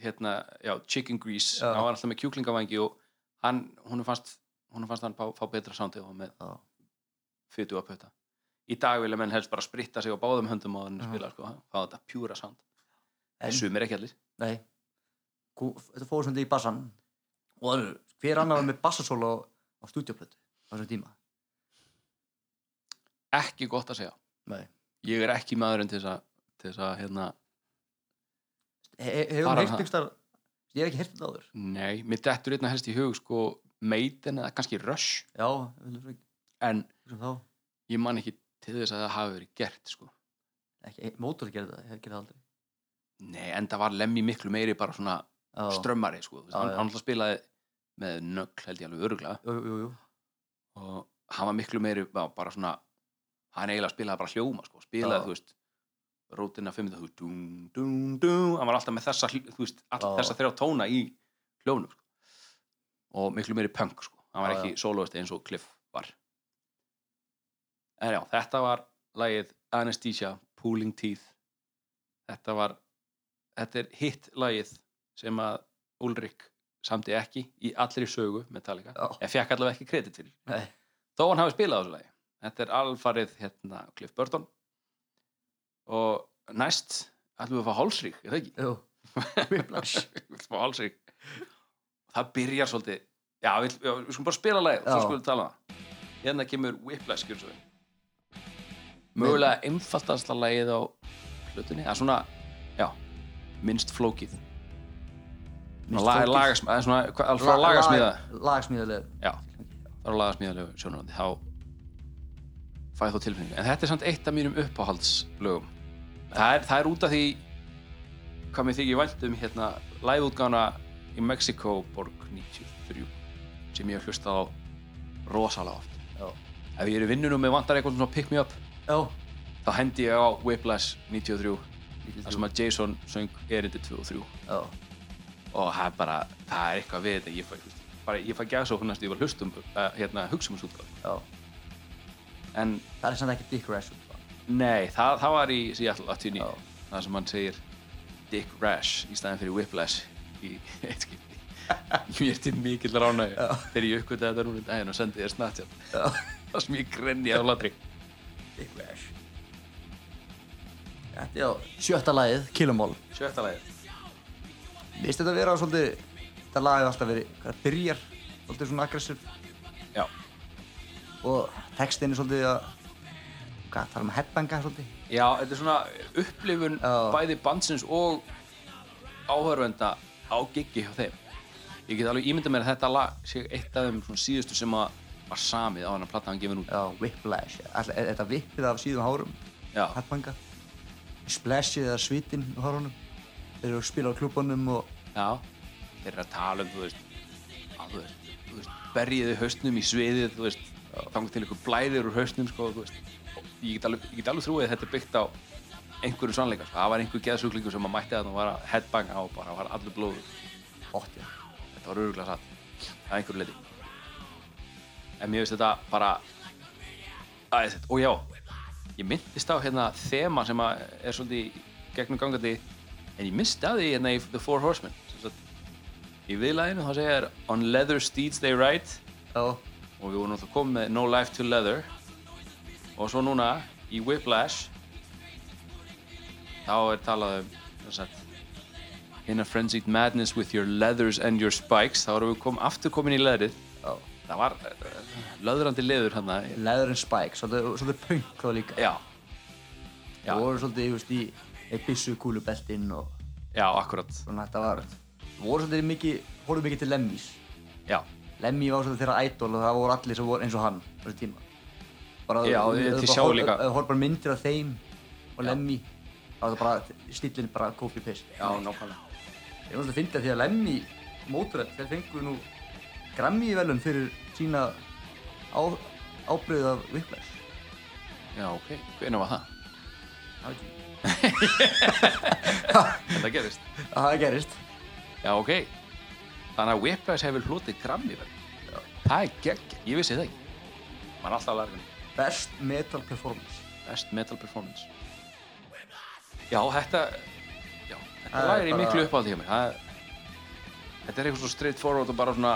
hérna, já, chicken grease
Já.
hann var alltaf með kjúklingavangi og hann, hún fannst, hún fannst hann fá, fá betra sándið og með
Já.
fytu að putta. Í dag vilja menn helst bara spritta sig á báðum höndum og hann
Já.
spila sko, fá þetta pjúra sánd.
En-
En sumir ekki allir.
Nei Kú- Þetta fóður svolítið í bassan og það eru- hver annar var með bassasóla á, á stúdíoplötu á þessum tíma
Ekki gott að segja.
Nei.
Ég er ekki maðurinn til þess að, til þess að hérna,
He- he- Hefur
Bara
heyrt
það.
byggstar Ég hef ekki heyrt þetta áður
nei, mér dettur einna helst í hug sko meitin eða kannski rush
Já, við viljum ekki-
en
sem þá
ég man ekki til þess að það hafi verið gert sko.
ekki, Mótor gerði það, hefur gerði það aldrei
Nei, en það var lemmi miklu meiri bara svona
Já,
strömmari sko, þú veist,
Já,
hann,
já.
hann alltaf spilaði með nögl held ég alveg öruglega
jú, jú, jú.
og hann var miklu meiri bara, bara svona hann eiginlega spilaði bara hljóma sko, spilaði
Já.
þú veist rótina 500 þú veist, dún, dún, dún hann var alltaf með þessa, hl- þú veist, all,
Já.
þessa þrjá tóna í hljónum sko. og miklu meiri punk sko, hann var
Já,
ekki soloist eins og Cliff var en já, þetta var lagið Anesthesia, Pooling Teeth þetta var þetta er hitt lagið sem að Ulrik samti ekki í allri sögu Metallica,
Já.
en fekk allavega ekki kredit fyrir
Nei.
þó hann hafi spilað á þessu lagi þetta er alfarið hérna Cliff Burton og næst ætlum við að fá hálsrík, er það ekki?
jú. Whiplash.
Við ætlum að fá hálsrík það byrjar svolítið já, við, já, við skulum bara spila lagið og
Já.
svo skulum við tala um það hérna kemur Whiplash kjör svo vel. mögulega einfaldasta lagið á hlutunni, það er svona já, minnst flókið
Minnst
Lag-
flókið?
lagas- það er svona, hvað- alveg frá lagasmíða
Lagasmíðalegu
já, það er lagasmíðalegu sjónarandi þá fæði þú tilfinningu en þetta er samt eitt af mínum uppáhaldslögum það er, það er út af því hvað mér þykir vænt um hérna læðútgána í Mexiko borg 93 sem ég hef hlustað á rosalega oft
Já.
ef ég er í vinnunum með vantar eitthvað svona pick me up
Já,
þá hendi ég á Whiplash 93
93.
þar sem að Jason söng erindi 2 og 3
já,
og það er bara, það er eitthvað við þetta ég fæ, bara, ég fæ gæsa og húnast ég var hlustum uh, hérna, hugsa um þessu útgáð
já
en
Það er samt ekki Dick Rash sko. útgáfa.
nei, það, það var í Seattle 89
Já.
það sem hann segir Dick Rash í staðin fyrir Whiplash í eitt skipti mér til mikill ránaði þegar ég uppgötaði þetta núna í daginn og sendi þér snartjátt það sem ég grenni á ladri
Dick Rash Þetta er á sjötta lagið, Killamall
sjötta lagið
Mér finnst þetta að vera svolítið Þetta lag hefur alltaf verið, hvað það byrjar Svolítið svona aggressiv
já,
Og textin er svolítið að Hvað, það er um að headbanga svolítið
já, þetta er svona upplifun
Já.
bæði bandsins og áhörvenda á giggi hjá þeim ég get alveg ímynda mér að þetta lag sé eitt af þeim svona síðustu sem að var samið á hann að platta hann gefin út
Já, whiplash All, er, er Þetta vippið af síðum hárum
já,
Headbanga Splashið eða svitin á hárunum Þeir eru að spila á klubunum og
já þeir eru að tala um, þú veist á, þú veist, þú veist berjiði hausnum í sviðið, þú veist þangur til ykkur blæðir úr hausnum, sko, þú veist Og ég get alveg, ég get alveg trúið að þetta er byggt á einhverjum sannleika, sko, það var einhver geðsuglingu sem að mætti að það var að headbanga á og bara var allur blóður
Ótt, já
þetta var öruglega satt að einhverju leiti en mér finnst þetta bara aðeinsett, og já ég myndist á hérna þema sem að er svolítið í gegnum gangandi en ég misti að því hérna í The Four Horsemen sem sagt, í viðlæðinu þá segja er On leather steeds they ride
Já,
og við vorum náttúrulega komið með No Life to Leather og svo núna í Whiplash þá er talað um sem sagt, In a frenzied madness with your leathers and your spikes þá erum við kom, aftur komin í leðrið
já
það var uh, löðrandi leður hann
Leather and Spike, svolítið, svolítið punk þá líka
já, Já.
Það voru svolítið, ég veist, í Ebissu kúlubeltinn og
já, akkurat
svona þetta var Það voru svolítið mikið, horfum mikið til Lemmys
já,
Lemmy var svolítið þeirra idol og það voru allir sem voru eins og hann á þessu tíma bara,
Já,
ef-
þið-
ef-
þið
bara
sjáu
horf-
líka.
ef þú horf bara myndir af þeim og Lemmy þá er það bara stílinn bara copy paste
já, nákvæmlega
ég var svolítið að fyndi að því að Lemmy móturöld, þeir fengu nú Grammy velun fyrir sína á, ábreyð af Whiplash
já, ok, hvernig var það?
það veit ég ekki.
þetta gerist
Að það gerist
já, ok þannig að Whiplash hefur hlotið grammi það er gegn, ég vissi það ekki maður er alltaf að læra um
best metal performance
Best Metal Performance Já, þetta já, þetta
Það er
lag er í
bara-
miklu uppáhaldi hjá mér það, Þetta er eitthvað svo straight forward og bara svona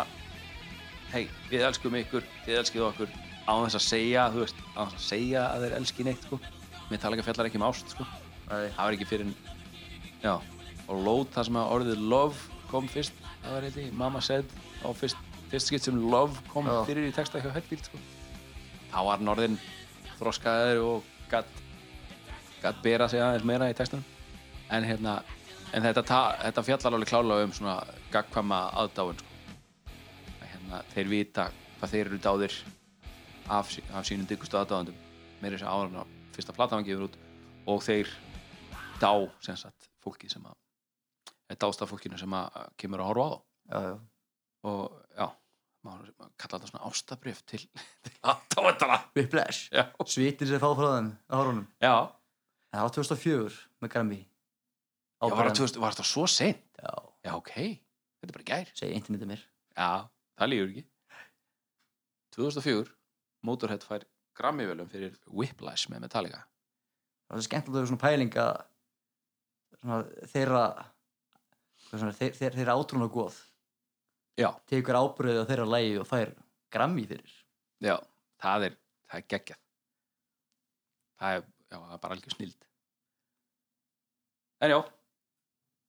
hei, við elskum ykkur, þið elskið okkur á þess að segja, þú veist á þess að segja að þeir elski neitt, sko Mér tala ekki fjallar ekki um ást, sko
Nei.
Það var ekki fyrir en Já, og lót það sem að orðið love kom fyrst, það var eitthvað, mamma said á fyrst, fyrst skipt sem love kom
Já.
fyrir í texta hjá Hetfield, sko þá var hann orðinn þroskaður og gatt gatt bera sig aðeins meira í textunum en hérna en þetta, ta, þetta fjallar alveg klálega um svona gagkvæma aðdáun sko. Að hérna, þeir vita hvað þeir eru dáðir af, sí- af sínum dyggustu aðdáðandum meira þess að ára hann fyrsta platan hann gefur út og þeir dá sem sagt fólki sem að eða dást af fólkinu sem að kemur að horfa á þá
já, já.
og já, maður, maður kalla þetta svona ástabrif til, til aðdáðandana
Whiplash,
já,
svitin sem þeir fá frá þeim á hárunum
já
það var 2004 með Grammy
Já, var
Ábyrgðan-
það, var það svo seint?
já,
Já, ok. Þetta er bara í gær.
segi internetið mér
Já, það lífur ekki. 2004, Motorhead fær Grammy-velum fyrir Whiplash með Metallica.
það er svo skemmtilegt að vera svona pæling að svona, þeirra hvað svona, þeir, þeir, þeirra átrúna góð
Já.
tekur ábyrðið á þeirra lægi og fær grammi fyrir
Já, það er, það er geggjað. Það er, já, það er bara algjör snild. En já,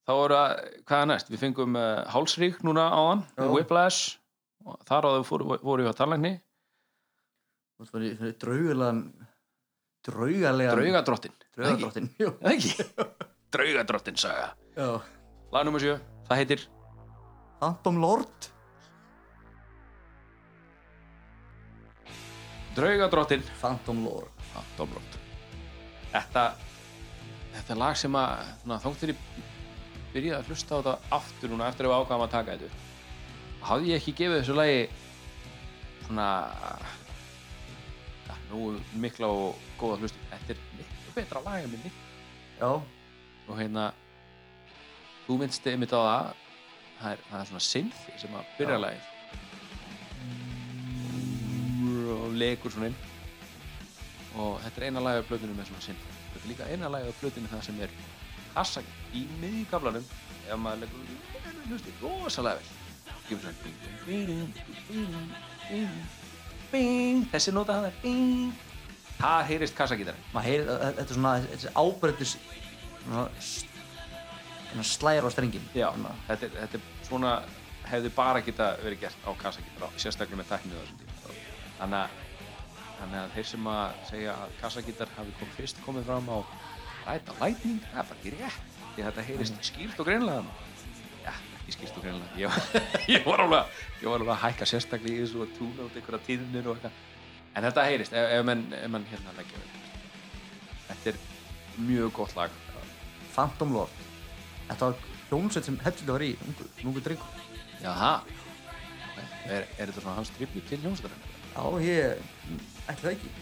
þá voru að, hvað er næst? Við fengum uh, Hálsrík núna á hann,
Já.
Whiplash, og þar á þau fóru, voru við að tannlækni.
og það er svona draugulegan draugalega
Draugadrottin.
draugadróttin
Það ekki? Draugadrottin saga
Já.
Lag nummer 7, það heitir
Phantom Lord
Draugadrottin
Phantom Lord
Dombrot Þetta Þetta er lag sem að svona, þóttir ég byrjaði að hlusta á þetta aftur núna eftir að við ákvæðum að taka þetta hafði ég ekki gefið þessu lagi svona ja, nú mikla og góða hlustu þetta er miklu betra lag en minni
Já,
og hérna þú minnst einmitt á það það er, það er svona synthi sem að byrja lagið og legur svona inn og þetta er eina lagið á blöðinu með svona synthi þetta er líka eina lagið á blöðinu það sem er hassak í miðgablanum ef maður legur út í hlusti rosalega vel gefur svona bing, bing, bing, bing, bing, bing. þessi nota hann er bing það heyrist kassagítarinn
maður heyrir að- að- þetta er svona þessi ábreytis svona, svona slæra á strengin
Já, þetta er, þetta er svona hefði bara geta verið gert á kassagítar sérstaklega með tæknið á þessum tíma þannig að, þannig að þeir sem að segja að kassagítar hafi kom fyrst komið fram á ræta lightning það er bara ekki rétt því að þetta heyrist skýrt og greinlega já, ekki skýrt og greinlega ég var, ég var, alveg, að- ég var alveg að hækka sérstaklega í þessu og túna út einhverja tíðnir og eitthvað en þetta heyrist ef, ef, menn, ef menn hérna leggja vel þetta er mjög gott lag
Phantom Lord Þetta var hljómsveit sem hefði þetta var í ungu, ungu drengu
Já, það er, er þetta svona hans drifni til hljómsveitarinn?
Já, ég ætli það ekki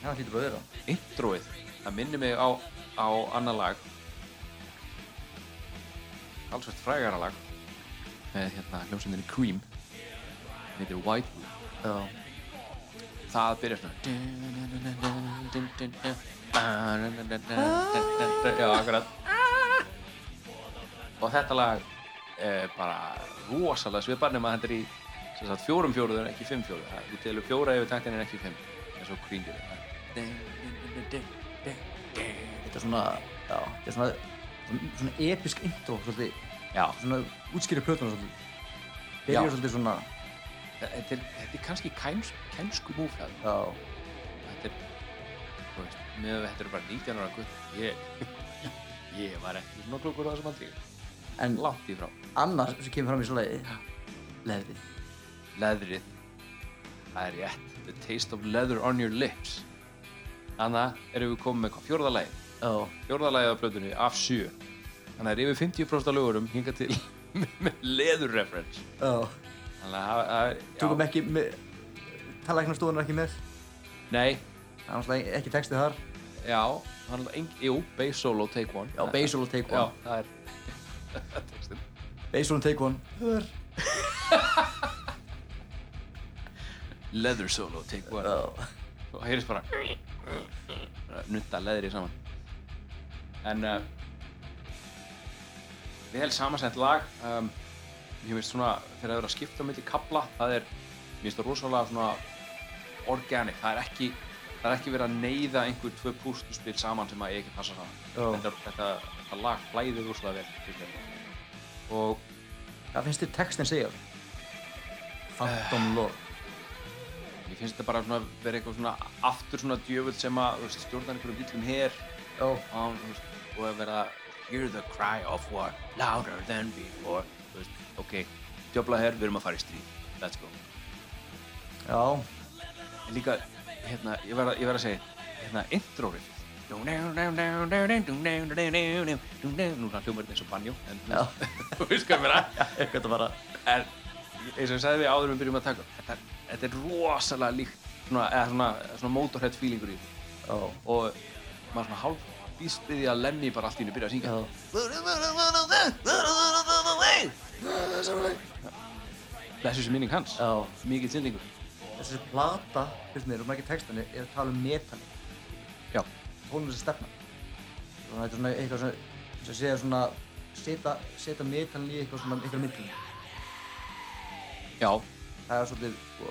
Já, hlýtur bara að vera
Introið, það minnir mig á, á annar lag allsvægt frægara lag með hérna hljómsveitinni Cream sem heitir White Room
Já,
það byrjar svona já, akkurat og þetta lag er bara rosalega svipar nema þetta er í sem sagt, fjórum fjóruður en ekki fimm fjóruður Það- þú telur fjóra yfir taktin en ekki fimm eins og Cream gerir
þetta er svona Já, þetta er svona svona, svona episk intro svolítið
já,
svona útskýri plötuna svolítið byrjar
Já.
svolítið svona
þetta er, þetta er kannski kæms, kæmsku múflag
Já,
þetta er þú veist, með að þetta er bara 19 ára gutt ég, ég var ekki svona klokkur á þessum aldrei
en
langt í frá
annars sem kemur fram í svo leiði Leðrið
leðrið það er rétt the taste of leather on your lips þannig erum við komið með hvað fjórðalagi
Já,
fjórðalagi á plötunni af 7 þannig að það er yfir 50% af lögurum hinga til með leather reference
já
þannig að það- það er já.
Tökum ekki með Talæknastofunar ekki með
nei,
Það er náttúrulega ekki textið þar
já hann er engin, jú, bass solo take one
Já, Basil og Take
já,
One
það er textin
Basil og Take One Hör
leather solo take one og heyrðist bara bara nutta leðri saman en uh, vel samansett lag um, ég veist svona þegar það er að skipta mitt í kabla það er, mér finnst það rosalega svona organic, það er ekki það er ekki verið að neyða einhver tvö pústuspil saman sem að ég ekki passa saman
Já.
þetta, þetta, þetta lag flæðir rosalega vel finnst mér. og
Hvað finnst þér textin segja? Phantom Lord
Ég finnst þetta bara svona verið eitthvað svona aftur svona djöfull sem að þú veist, stjórnar einhverjum bílum hér
Já,
án, þú veist, og að vera Hear the cry of war louder than before Þú veist, ok, djöfla hér, við erum að fara í stríð Let's go
já,
En líka, hérna, ég verð að, ég verð að segja hérna, intro riff Núna hljómar þetta eins og banjó en
já
þú veist hvað ég meina
Eitthvað að bara
en eins og ég sagði við áður en við byrjum að taka þetta, þetta er rosalega líkt svona, eða svona, svona motorhead feelingur í því
Já,
og maður svona hálf býst við því að Lenny bara allt í henni byrja að syngja Eh,
já
blessu sem minning hans,
Já,
mikið tilningur
þessi plata, fyrst mér, um ekki textinni, er að tala um metan
Já.
Tónum þessi stefna Svona, þetta er svona eitthvað svona, eins og segja svona Seta, seta metan í eitthvað svona, eitthvað myndin
já,
Það er svolítið, sko,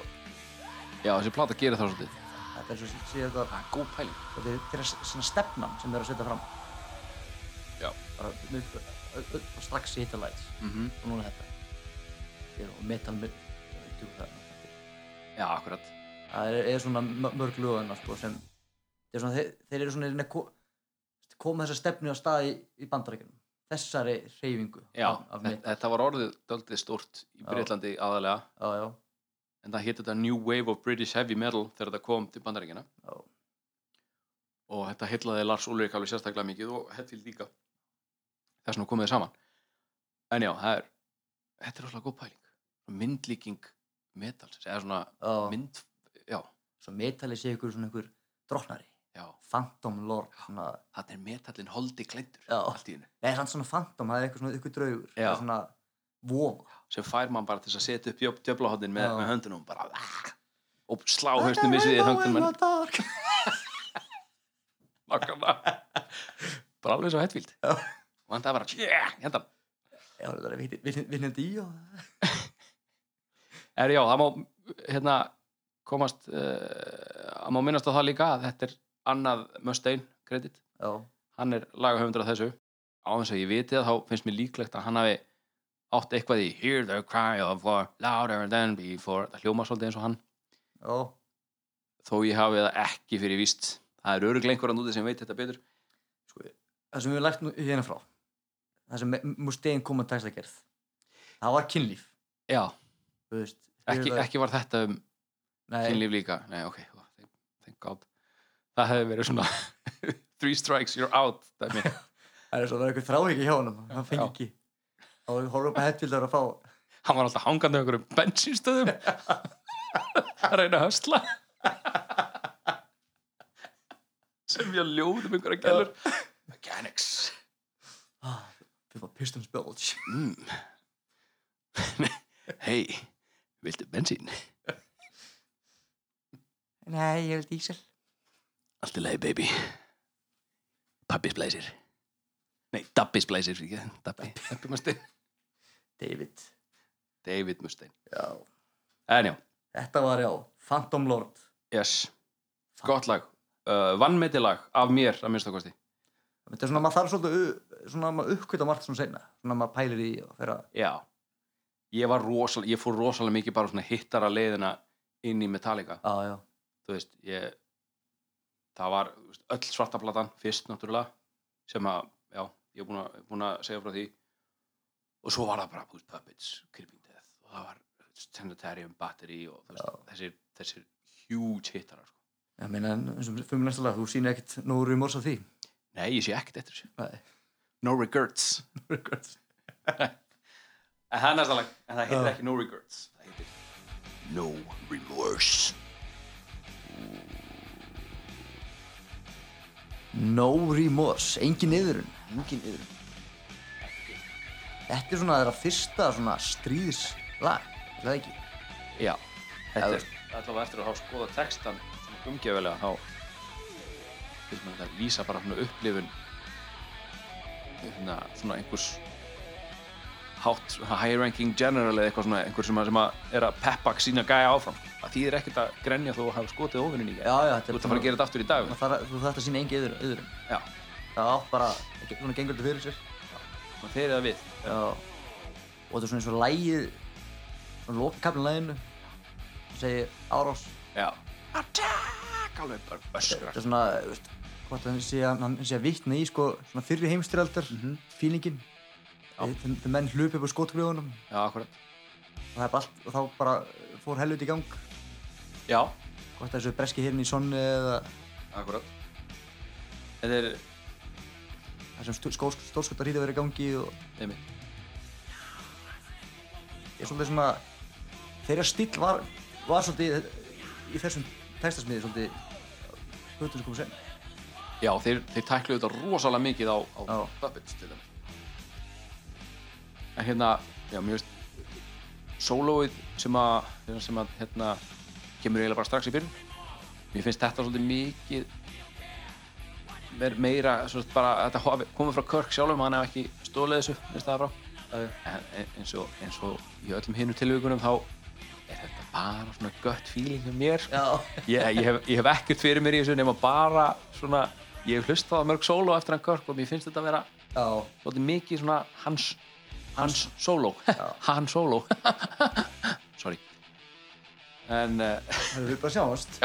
já, þessi plata gerir það svolítið
þetta er svo segja þetta
það er góð pæling
og þeir, þeirra s- svona stefnan sem þeir eru að setja fram
Já.
bara með, ö- ö- og strax í hitalights
mm
og núna þetta Ég- og metal með það
já, akkurat,
hérna, það er, er svona mö- mörg lögana sko, sem þeir, svona, þeir, þeir eru svona að reyna að ko- koma þessa stefnu á staði í bandarækjunum þessari reyfingu
Já,
af, af
þetta,
mitt
þetta var orðið daldið stórt í
Já.
Breitlandi aðalega
já, já,
en það hétt þetta New Wave of British Heavy Metal þegar þetta kom til bandaríkina
Já.
og þetta heitlaði Lars Ulrik alveg sérstaklega mikið og Hetfield líka þess vegna komiði saman en já, það er þetta er alltaf góð pæling myndlíking metals, eða svona
já.
mynd já,
svo metalið sé ykkur svona ykkur drotnari
já,
Phantom Lord svona,
þannig er metallin holdi glendur
Já.
allt í hennu
nei, hann svona Phantom, það er eitthvað svona ykkur draugur
Já.
það er svona vofa
sem fær mann bara til þess að setja upp djöflahotnin með,
Já.
með höndunum bara, ah, og slá haustum í sviðið höndunum en-
já,
Nákvæmlega Bara alveg svo hættvíld
Já.
Og hann það bara yeah, hérna.
það er vitni- vitni- vinnandi í og
Er já, það má hérna, komast eh, það má minnast á það líka að þetta er annað Mustaine kredit
já,
hann er lagahöfundur að þessu á þess að ég viti það þá finnst mér líklegt að hann hafi átt eitthvað í Hear the cry of war louder than before það hljóma svolítið eins og hann
já,
þó ég hafi það ekki fyrir víst það er örugglega einhverjan úti sem veit þetta betur
það sem við höfum lært nú hérna frá það sem Me- Mustaine kom að textagerð það var kynlíf
Já,
þú veist,
ekki,
Fyrir-
ekki var þetta um
nei,
kynlíf líka, nei ok thank- thank god það hefði verið svona three strikes, you're out dæmi.
það er svo það er eitthvað þráhyggja hjá honum hann fengi
Já.
ekki þá horfum við horfum upp að Hetfield að fá
hann var alltaf hangandi á einhverjum bensinstöðum að reyna að hösla sem ég ljóð um einhverja gælur mechanics
ah, við fá Pistons Bulge
mm. hei, viltu bensín?
nei, ég vil dísel
Allt í lagi, baby. Pappis blæsir. Nei, Dabbis blæsir, ekki? Dabbi. Dabbi Mustaine.
David,
David Mustaine.
já,
En já,
þetta var já Phantom Lord
yes. Gott lag. Uh, Vannmeti lag af mér, að minnst kosti.
þetta er svona maður þarf svolítið u- svona maður uppkvita margt svona seinna svona maður pælir í og fyrir að
Já. Ég var rosalega, ég fór rosalega mikið bara svona hittara leiðina inn í Metallica.
já, já,
Þú veist, ég, það var þú veist, öll svarta platan fyrst náttúrulega sem að, já, ég er búin að, búin að segja frá því. Og svo var það bara, þú veist, Puppets, Creeping Death og það var Sanitarium Battery og þú veist, þessir, þessir huge hittara, sko.
ég meina eins og fyrir næsta lag þú sýnir ekkert nógu rumors af því
Nei, ég sé ekkert eftir þessu.
nei,
No regrets.
regrets
En það er næsta lag, en það heitir
Já.
ekki No Regrets Það heitir No Remorse
No remorse, engin yðurinn engin yðurinn þetta er svona þeirra fyrsta svona stríðslag er það ekki?
Já, þetta
Já.
er allavega eftir að hafa skoða textan svona umgefilega þá finnst maður þetta lýsa bara svona upplifun svona, svona einhvers hátt, high ranking general eða eitthvað svona einhver sem að, sem að er að peppa sína gæja áfram það þýðir ekkert að grenja þó að hafa skotið óvinnin í
já,
gæja Þú
já, þetta
ert að fara að gera þetta aftur í dag
maður þarf að- þú þarft að sína engin yður, yðurinn
Já,
það átt bara, svona gengur þetta fyrir sér
maður þeirri það við
já. og þetta er svona eins og lægið svona lókakaflin læginu það segir árás
Já Attack alveg bara öskra
þetta er svona, þú veist, hvort hann sé, að- hann sé að vitna í sko, svona fyrri heimstyraldar mm -hmm. fílingin þegar þegar menn hlupi upp á skotgröðunum
Já, akkurat
og, það er bara allt, og þá bara fór helviti í gang
Já,
hvort þessu breski hérna í sonni eða
Akkurat Þetta er
þessum stórskottar hýta verið í gangi og
nemi,
ég er svolítið svona þeirra stíl var, var svolítið í þessum textasmiði svolítið hlutum sem komið sen
Já, þeir, þeir tækluðu þetta rosalega mikið á, á
Já.
Puppets til þeim En hérna, já, mér veist Sólóið sem að sem að, hérna, kemur eiginlega bara strax í byrjun Mér finnst þetta svolítið mikið meir, meira, svolítið bara að þetta hafi komið frá Kirk sjálfum, hann hef ekki stólið þessu, mér finnst það frá en, en- eins, og, eins og í öllum hinu tilvíkunum þá er þetta bara svona gött feeling um mér, sko
já,
ég, ég, hef, ég hef ekkert fyrir mér í þessu nema bara svona, ég hef hlustað á mörg sóló eftir hann Körk og mér finnst þetta að vera
já,
svolítið mikið svona hans hans sóló hann sóló sorry en eh, uh,
hefur við bara sjáast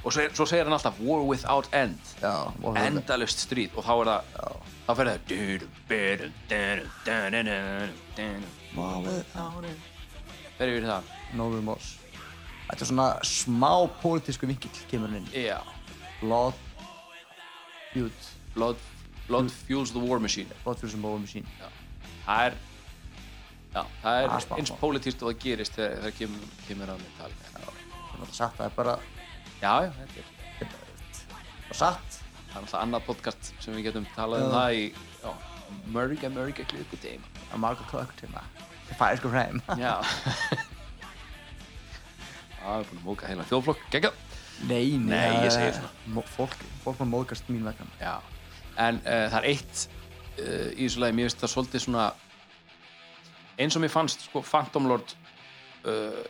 og svo, svo segir hann alltaf war without end
Já, og það-
endalust stríð og þá er það þá fer það dun, dun, dun, dun, dun, dun, dun. fer yfir í það
Northern Moss Þetta er svona smá pólitísku vinkill kemur hann inn
já,
Blood Feud
blood, blood fuels the war machine
Blood Feud sem bóðum sín
það er já, það
Það er smá.
er eins pólitíst og það gerist þegar það kemur, kemur að mér tali já,
Það er satt, það er bara
já, þetta er
bara satt
það er alltaf annað podcast sem við getum talað um það í já, mörga, mörga klukkutíma
að marga klökk tíma Það er sko hreim
já það er búin að móka heila þjóðflokk, geggjað
Nei,
Nei, ég segi svona.
svona Fólk, fólk maður móðgast mín vegna
Já, en uh, það er eitt uh, í þessu lagi, mér finnst það svolítið svona eins og mér fannst sko, Phantom Lord uh,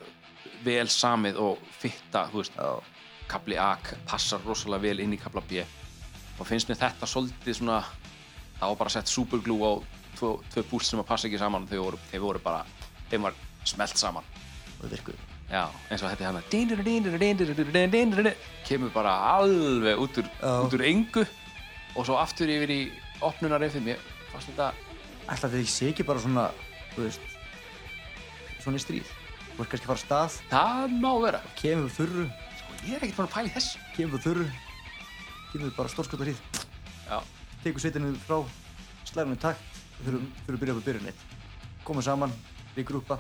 vel samið og fitta, þú veist,
Já,
kapli A k- passar rosalega vel inn í kapla B og finnst mér þetta svolítið svona það var bara sett superglú á tvö, tvö púl sem að passa ekki saman og þau voru, þau voru bara, þeim var smelt saman
og sko, það virkuð
Já, eins og þetta er hann að kemur bara alveg út úr,
Já.
út úr engu og svo aftur yfir í opnunar eftir mér fannst þetta,
Ætla þetta ekki sé ekki bara svona, þú veist Svona í stríð Þú ert kannski að fara af stað
það má vera
Kemur þurru
sko, ég er ekkert bara að pæla í þessu
Kemur þurru Kemur bara stórskotla hríð
Já,
tekur sveitinu frá slæðinu takt þurfum, þurfum að byrja upp á byrjun eitt komum saman, við grúpa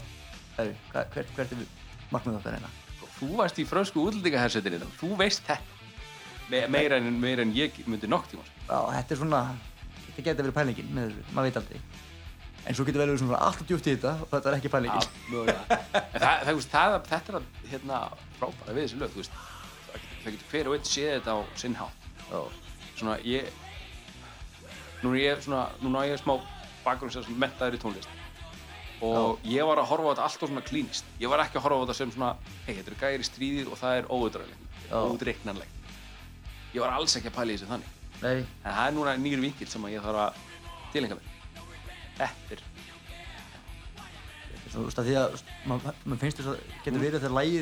Heru, hva, hvert, hvert er við markmið okkar hérna
og Sko, þú varst í frönsku útlendingahersetinni þá, þú veist þetta Me, meira, en, meira en ég myndi nokk tíma
Já, þetta er svona þetta geta verið pælingin með þessu, maður veit aldrei en svo getur vel verið svona alltaf djúpt í þetta og þetta er ekki
Já,
pælingin
mögulega. En það, það, þú veist, það, þetta er að, hérna, frábæra við þessi lög þú veist. það getur- það getur hver og einn séð þetta á sinn hátt svona ég núna ég svona, núna á ég smá bakgrunn sem mentaður í tónlist og ég var að horfa á þetta alltaf svona klínist ég var ekki að horfa á þetta sem svona hei, þetta eru gæri stríðir og það er óutræðilegt óutreiknanlegt ég var alls ekki að pæla í þessu þannig
nei,
en það er núna nýr vinkil sem að ég þarf að tilengja mér þetta er
þetta er svona, þú veist, að því að maður ma finnst þess að getur verið þegar lægið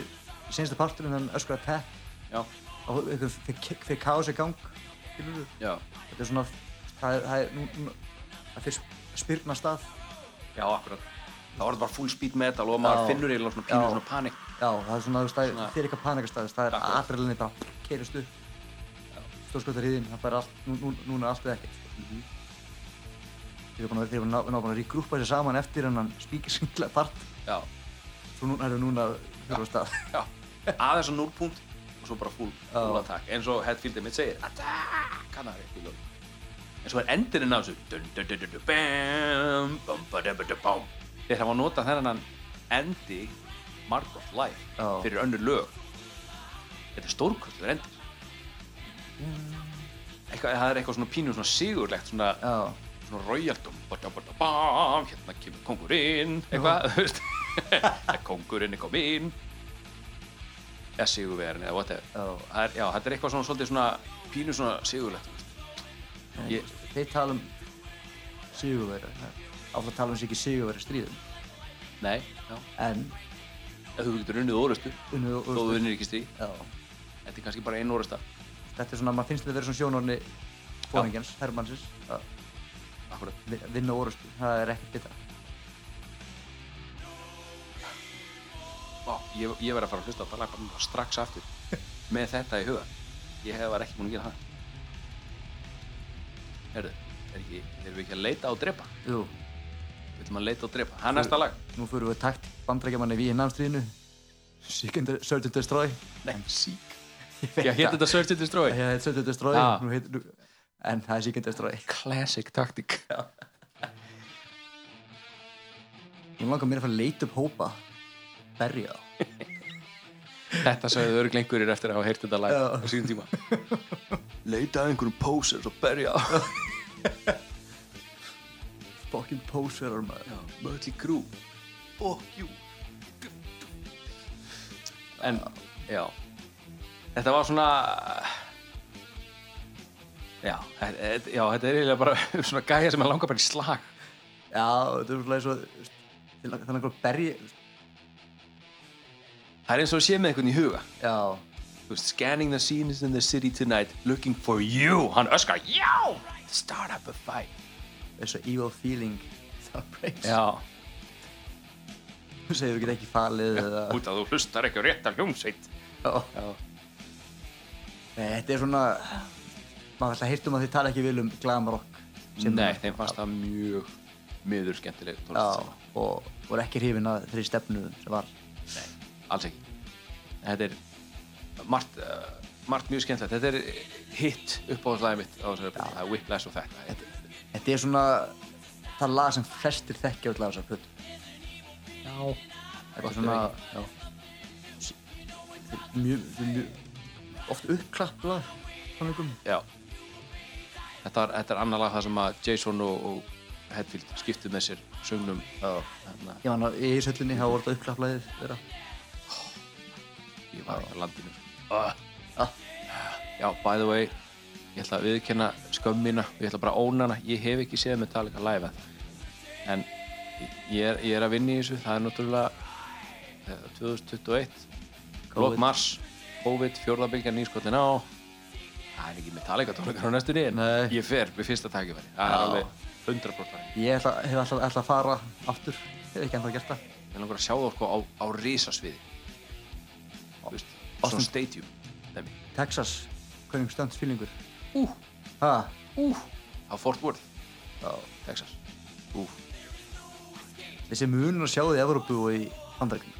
í sensta parturinn þannig öskra tap
já,
og eitthvað fyrir- fyrir kaos í gang skilurðu?
já,
þetta er svona það er, það er, nú- nú- það fyrir spyrna af stað
já, akkurat það var þetta bara full speed metal og maður
Já.
finnur eiginlega svona pínu
Já.
svona panik
Já, það er svona, þú veist, það
Svona-
er- þið er eitthvað panikastæðis, það er hérna
Akkurat.
aðræðinni bara keirist upp. Stórskvöldar hýðin, það er bara allt, nú, nú, núna er allt við ekkert. Mm -hmm. Þeir eru búin að, þeir eru ná- ná búin að ríkgrúpa þessi saman eftir hennan spíkisingla part,
já,
svo núna erum við núna fyrir á stað.
já, aðeins á núlpunkt og svo bara full, full attack eins og Hetfield mitt segir attack, hann er ekki lög en svo er endurinn á þessu dun, dun, dun, dun, dun, bam, bum, ba, dum, ba, dum, bum. þeir hafa notað þennan endi Margot Life
Já.
fyrir önnur lög þetta er stórkostlegur endir eitthvað, það er eitthvað svona pínu svona sigurlegt svona,
Já,
svona royal dum, ba, dum, ba, dum, bam, hérna kemur kongurinn eitthvað, þú veist kongurinn er kominn eða sigurverðin eða whatever
Já.
það er, já, þetta er eitthvað svona, svolítið svona pínu svona sigurlegt þú veist. Ég-
þeir tala um sigurveri, áfram tala um sig ekki sigurveri stríðum,
nei, já,
en
ef þú getur unnið orustu
unnið
þó þú
orrustu.
unnir ekki strí,
Já,
þetta er kannski bara einn orusta
þetta er svona, maður finnst þetta að vera svona sjónorni fóringjans, herrmannsins, að
akkurat,
vi- vinna orrustu, það er ekkert betra.
Vá, ég, ég verð að fara að hlusta á það lag bara núna strax aftur með þetta í huga ég hef var ekki búin að gera það herðu, er ekki, erum við ekki að leita á drepa
Jú,
við ætlum að leita á drepa, það er næsta lag
Nú fyrir við takt bandrækjamanni við innanstríðinu Search and Destroy
nei, sík já, hér þetta Search and Destroy
Það heit Search and Destroy
Ah.
nú heit, nú, En það er Search and Destroy
classic taktik
Nú langar mér að fara að leita upp hópa Berja þá.
Þetta sagði örgl einhverjir eftir að hafa heyrt þetta lag
Já.
á síðan tíma Leita að einhverjum posers og berja
Fucking poserar maður
Mötli grú Fuck you En, já Þetta var svona Já, e- e- já þetta er eiginlega bara svona gæja sem að langa bara í slag
Já, þetta er svona svo Þannig að langar að berja
Það er eins og sé með einhvern í huga
Já
Þú veist, Scanning the scenes in the city tonight Looking for you Hann öskar, já, start up a fight
Þessu evil feeling Það breyst
Já,
Þú segir þú get ekki falið eða
út að þú hlustar ekki á réttar hljómsveit
Já.
Já.
Nei, Þetta er svona Maður ætla að hýrt um að þið tala ekki vel um glam rock sem-
Nei, þeim fannst það mjög miður skemmtileg
Já,
tónlist
og voru ekki hrifin að þeirri stefnu sem var
Alls ekki Þetta er margt, uh, margt mjög skemmtilegt Þetta er hitt uppáðslæði mitt á þessari plötu. Það er Whiplash og þetta
Þetta er svona það lag sem flestir þekkja alltaf þessar plötu Þetta
Gott
er svona
lag.
já, s- mjög, mjög oft uppklapplað tónleikum
Já Þetta er, þetta er annar lag það sem að Jason og, og Hetfield skiptu með sér sögnum hérna, Þannig
Ég man að í söllinni hafa voruð uppklapplaðið þeirra
að ég var ekki á landinu Ah. Já, by the way ég ætla að viðkenna skömmina og ég ætla bara að óna hana, ég hef ekki séð Metallica live að en ég er, ég er að vinna í þessu, það er náttúrulega eh, 2021 lok
COVID.
mars, COVID, fjórðabylgja nýskotin á það er ekki Metallica tónleikar á næstunni en
Nei.
ég fer við fyrsta tækifæri, það er
Já.
alveg 100% þannig.
Ég ætla, hef alltaf, alltaf að fara aftur hef ekki ennþá gert það
Ég langar að sjá það sko á, á risasviði Þú veist, Svona
Austin-
stadium dæmi.
Texas, hvernig stönd fílingur Ú Ha,
Á Fort Worth,
já
Texas Ú,
Þessi munur að sjá þið í Evrópu og í Bandaríkjum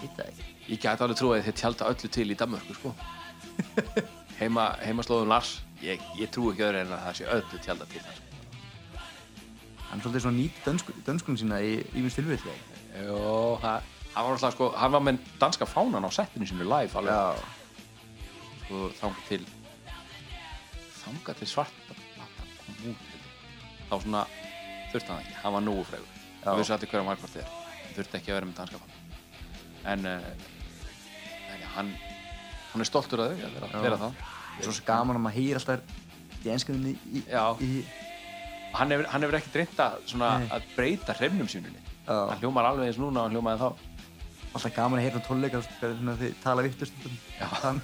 Veit það ekki
Ég gæti alveg trúið að þeir tjálta öllu til í Danmörku sko Heima, heima slóðum Lars Ég, ég trúi ekki öðru en að það sé öllu tjálta til þar sko.
Hann er svolítið svona nýti dönsku, dönskun sína í ímins tilfelli
Jó, það Hann var, alltaf, sko, hann var með danska fánan á settinu sinu live alveg
Já
sko, þangað til þangað til svarta platan kom út held ég. þá svona þurfti hann ekki, hann var nógu fregur það vissi allir hverja markvart þér hann þurfti ekki að vera með danska fann en, uh, en ja, hann hann er stoltur að þau að vera,
Já.
vera það
Það er svo gaman að maður heyr alltaf í enskunni í,
Já.
í
hann hefur, hann hefur ekki reynt að, svona,
Nei.
að breyta hrefnum sínunni
Já.
hann hljómar alveg eins núna og hann hljómaði þá
alltaf gaman að heyra tónleika þegar þið tala vittur stundum Þann,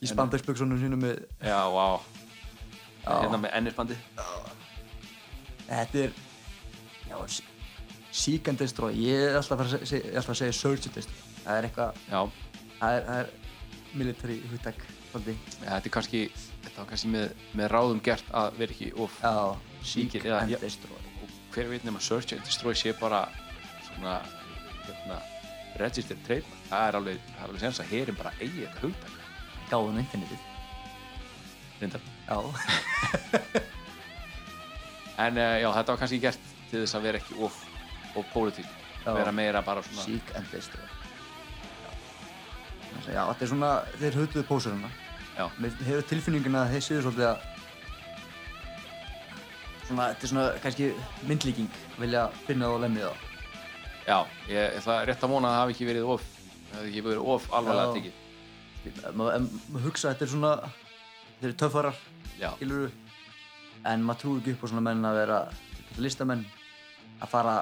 í spandagsböksunum sínum með
já, vá hérna með ennisbandi
þetta er já, s- seek and destroy ég er alltaf að, fara að, seg, alltaf að segja search and destroy það er eitthvað
já,
það er, það er military hugtak svolítið
þetta er kannski þetta var kannski með, með ráðum gert að vera ekki of
já,
Seek
seek
it, já,
and
já.
destroy
og hver veit nema Search and Destroy sé bara svona hérna, registered trade það er alveg, það er alveg sens að herin bara eigi þetta hugtak
gáðum um internetið
reyndar.
já,
en uh, já, þetta var kannski gert til þess að vera ekki of, of pólitík
Já.
vera meira bara svona
seek and destroy já, já þetta er svona þeir höfðuðu pósuruna
já,
Mér hefur tilfinninguna að þeir séu svolítið að svona, þetta er svona kannski myndlíking vilja finna það og lemja það
já, ég, ég ætla rétt að vona að það hafi ekki verið of það hafi ekki verið of alvarlega
Já.
tekið
Ef Eh, maður ef maður hugsa að þetta er svona þeir eru töffarar,
já,
skilur en maður trúi ekki upp á svona menn að vera listamenn að fara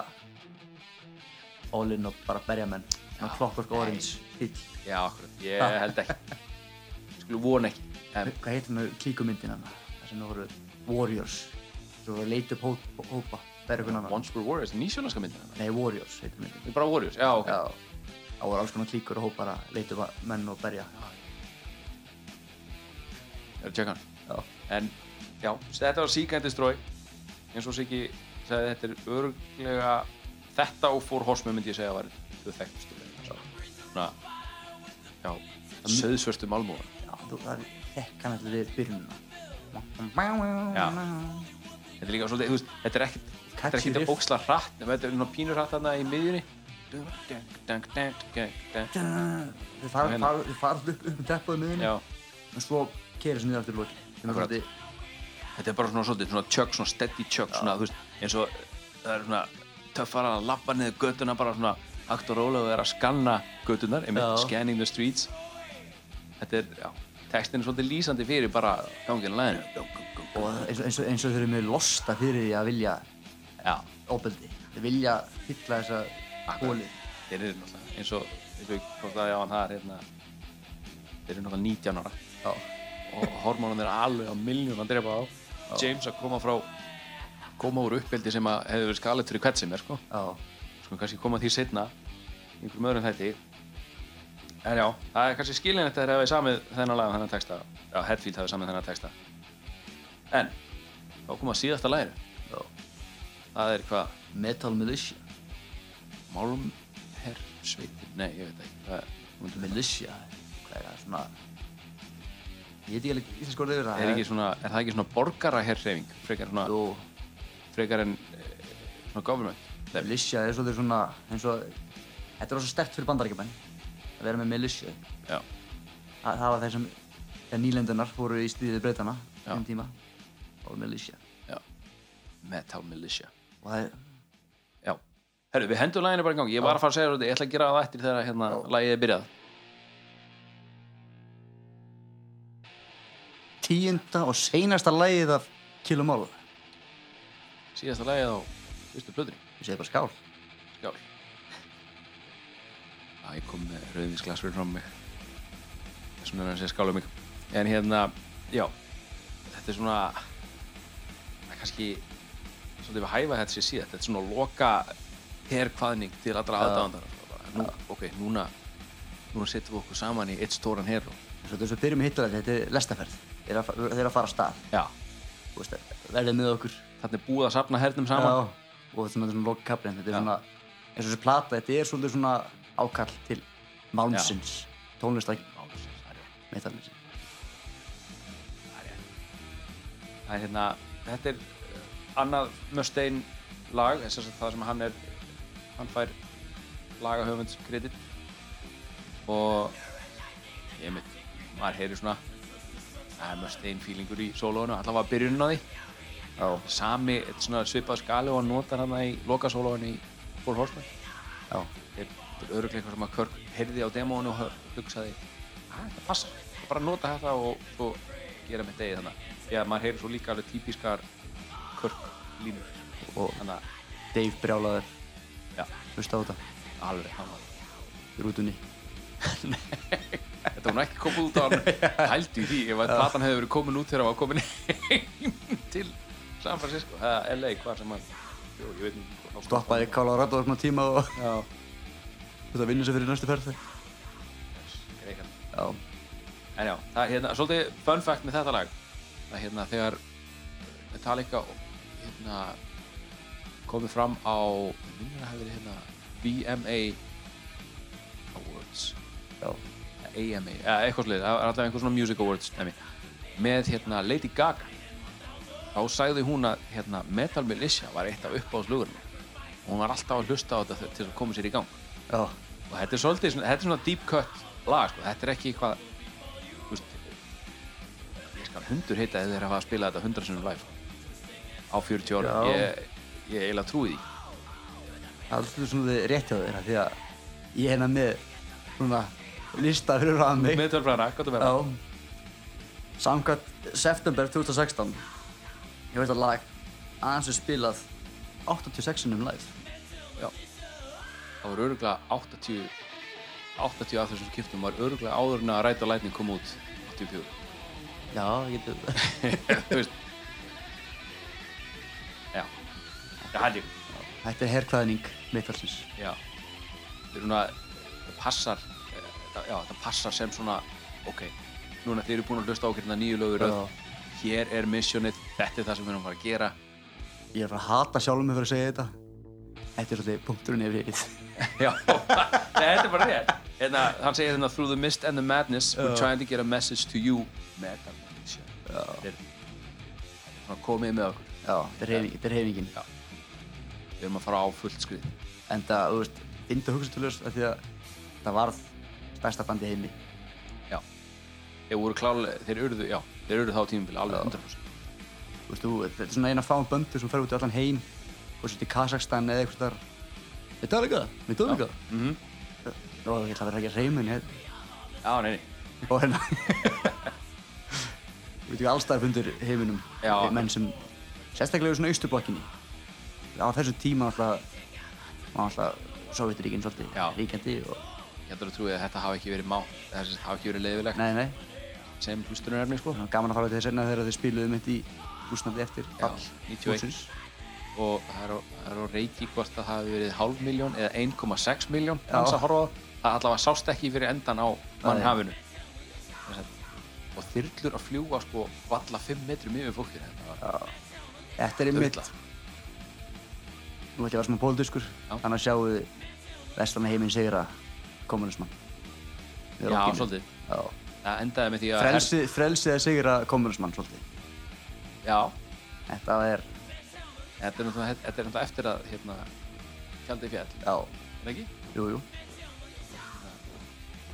all in og bara berja menn svona Clockwork Orange fíll
já, akkurat, ég held ekki ég skulle vona ekki en,
hvað heitir nú klíkumyndin hann þar sem það voru Warriors þú voru að leita upp hó- hópa berja hvernig annan
Once Were Warriors, nýsjónarska myndina
nei Warriors heitir myndin
við bara Warriors, já, ok
Já, það voru alls konar klíkur og hópar að leita um að menn og berja.
ég er að tjekka hann
Já.
en já, þetta var Seek and Destroy eins og Siggi sagði þetta er örglega þetta og For Horsemen myndi ég segja að var þau þekktustu lögin, sko. svona
Mm.
já, söðsvörstu málmúan
Já, þú, það er þekkan allir við byrjununa.
þetta er líka svolítið, þú veist, þetta er ekkit þetta er
Catchy
ekkit
riff.
að bóksla hratt, nema þetta er svona pínur hratt þarna í miðjunni Dun, dun, dun, dun, dun, dun.
Þau fara,
Hérna.
fara, þau fara upp, upp um teppuðu miðinni
já,
og svo keira þessu niður aftur í loki. Þeim er
Akkurat.
svolítið-
þetta er bara svona svolítið svona tjögg, svona steady tjögg, svona, þú veist eins og það er svona töffara að lappa niður göttuna bara svona hægt og rólega og er að skanna göttunar einmitt,
Já.
scanning the streets þetta er, já, textin er svolítið lýsandi fyrir bara gangið í læðinu
Og eins, og- eins, og- eins og þau eru með losta fyrir því að vilja
já,
óbeldi. Þau vilja fylla þessa hóli.
þeir eru náttúrulega eins og eins og það er á hann það er hérna þeir eru náttúrulega 19 ára
Já.
og hormónum er alveg á miljón að drepa á James að koma frá koma úr uppbyldi sem að hefur verið skalett fyrir hvert sem er sko
Já.
sko kannski koma að því setna einhverjum öðrum þætti en já, það er kannski skilin þetta þegar hefði samið þennan lag og þennan texta já, Hetfield hefði samið þennan texta en, þá kom að síðasta læri
Já.
það er hvað
Metal Militia
Málmherrsveitin, nei, ég veit ekki það er,
Militia Hvað er það svona Ég veit ekki alveg íslensk orðið yfir það
er, ekki svona, er það ekki svona borgaraherrreifing frekar, svona,
Jú,
frekar en eh, svona government Nei,
Militia er svolítið svona eins og Þetta er svo stert fyrir bandaríkjumenn að vera með Militia
já,
það, það var þeir sem þegar nýlendunar fóru í stíðið breytana
Já.
um tíma og Militia
já Metal Militia
og það er
Já, herru, við hendum læginu bara í gangi Ég var að fara að segja þér þetta, ég ætla að gera það eftir þegar hérna, lægið er byrjað
tíunda og seinasta lagið af Kilomál ég
Síðasta lægið á fyrstu plöðri
segi bara skál
Skál Æ, ég kom með rauðinsglas fyrir fram mig Þessum er hann sem skála mig En hérna, já Þetta er svona Það er kannski Svolítið við hæfa þetta sér síðan Þetta er svona loka herkvaðning til allra aðdáðandar Nú, ok, núna Núna setjum við okkur saman í eitt stóran her og,
Svo þetta er svo byrjum með hittulega þetta er lestaferð þeir eru að, fa- þeir eru að fara að stað
Já,
þú veist, verðið með okkur
þarna er búið að safna hernum saman
Já, og þetta er svona, svona lokkablin þetta er
Já.
svona eins og þessi plata þetta er svolítið svona ákall til Málmsins tónlistar Málmsins meðalins
það er hérna, þetta er uh, annað Mustaine lag þess að það sem hann er hann fær lagahöfunds kredit og ég mitt, maður heyri svona það er Mustaine feelingur í sólóinu, allavega byrjunin á því Já. sami þetta er svona svipað skali og hann notar hann í loka sólóinu í Full Horseman
Já.
þetta er öruglega eitthvað sem að Kirk heyrði á demónu og hugsaði að þetta passar, Ég bara nota þetta og svo gera með degi þannig því að maður heyrir svo líka alveg típiskar Kirk línur
Og-
þannig að,
Dave Brjálaður
já,
hlusta á þetta
alveg hann var-
í rútunni
þetta var nú ekki komið út á hann hældi því ef að platan hefði verið komin út þegar hann var komin heim til San Francisco eða LA, hvað sem hann Jó, ég veit ekki hvað hann-
doppaði kála á rættu á svona tíma og
já,
þetta vinnur sér fyrir næstu ferð
greikann
Já,
En já, það er hérna, svolítið fun fact með þetta lag að hérna þegar Metallica hérna, komið fram á minnir að hafi verið hérna BMA Awards
já,
AMA, eða eitthvað slið, það er allavega einhver svona Music Awards nemi, með hérna Lady Gaga þá sagði hún að hérna, Metal Militia var eitt af uppáðslugurinn og hún var alltaf að hlusta á þetta til að koma sér í gang
já,
og þetta er svolítið svona, þetta er svona deep cut lag sko. þetta er ekki eitthvað þú veist, ég skal hundur heita ef þeir hafa að spila þetta 100 sinum live sko. á 40 árum
Já.
ég, ég eiginlega trúi því
alltaf svona þið rétt hjá þér af því að ég hérna með svona lista fyrir að mig
meðtölfræðana, gott að vera
Já Samkvæmt september 2016 Ég veist að lag aðeins er spilað 86 sinnum live
það voru öruglega 80 80 af þessum skiptum var öruglega áður en að ræta lætning kom út 84
Já, ég getur
þú veist já, það held ég
Þetta er herrkvæðning meðfælsins
já þetta er svona það passar eh, þetta- já, það passar sem svona ok, núna þeir eru búin að hlusta á okkur nýju lögur
Já.
hér er missionið, þetta er það sem við erum að fara að gera
Ég er að fara að hata sjálfum mig fyrir að segja þetta Þetta er svolítið punkturinn yfir hitt
já, Nei, þetta er bara rétt hérna, hann segir hérna through the mist and the madness we're trying to get a message to you metal militia Þetta er- þetta er svona komið með okkur
Já, þetta er hreyfing- þetta er hefingin
Já. við erum að fara á fullt skrið
En það, þú veist, binda hugsatöluðs af því að það varð stærsta bandi í heimi
já, þeir voru klálega þeir urðu, já, þeir urðu þá tímabili alveg 100%
Þú veist, þú- þetta er svona eina fáum böndu sem fer út í allan heim og sér til Kazakstan eða eitthvað þar Við tala líka, um við tala líka
mhm.
Og ég ætla að vera ekki að reymun hér
já, neini,
og hérna við veitum allstæðar fundur heiminum
Já.
menn sem sérstaklega í svona austurblokkinni á þessu tíma alltaf var alltaf Sovjeturíkin svolítið
Já.
ríkjandi og...
Ég heldur að trúið að þetta hafi ekki verið má Það hafi ekki verið leiðilegt
Nei, nei,
sem hlustunarefni sko
það var gaman að fara til þess enna þegar þau spiluðu mitt í Rúslandi eftir
Já,
fall
91.
hússins.
og það er á, það er á reiki hvort það hafi verið hálf miljón eða 1,6 miljón
Já.
hans að horfa á það Það allavega sást ekki fyrir endan á mannhafinu Þess að- og þyrlur að fljúga sko valla 5 metrum yfir fólkinu þetta var
Þetta er einmitt,
drullað.
nú ætlum ég að vera smá pólitískur,
Já.
annars sjáum við vestana heiminn sigra kommunismann. Með
Já,
rockinu.
svolítið.
Já.
það endaði með því að
Frelsi, frelsið að sigra kommunismann svolítið.
já,
Þetta er,
þetta er náttúrulega þetta er náttúrulega eftir að hérna, kjaldið fjall,
já,
er það ekki?
jú, jú,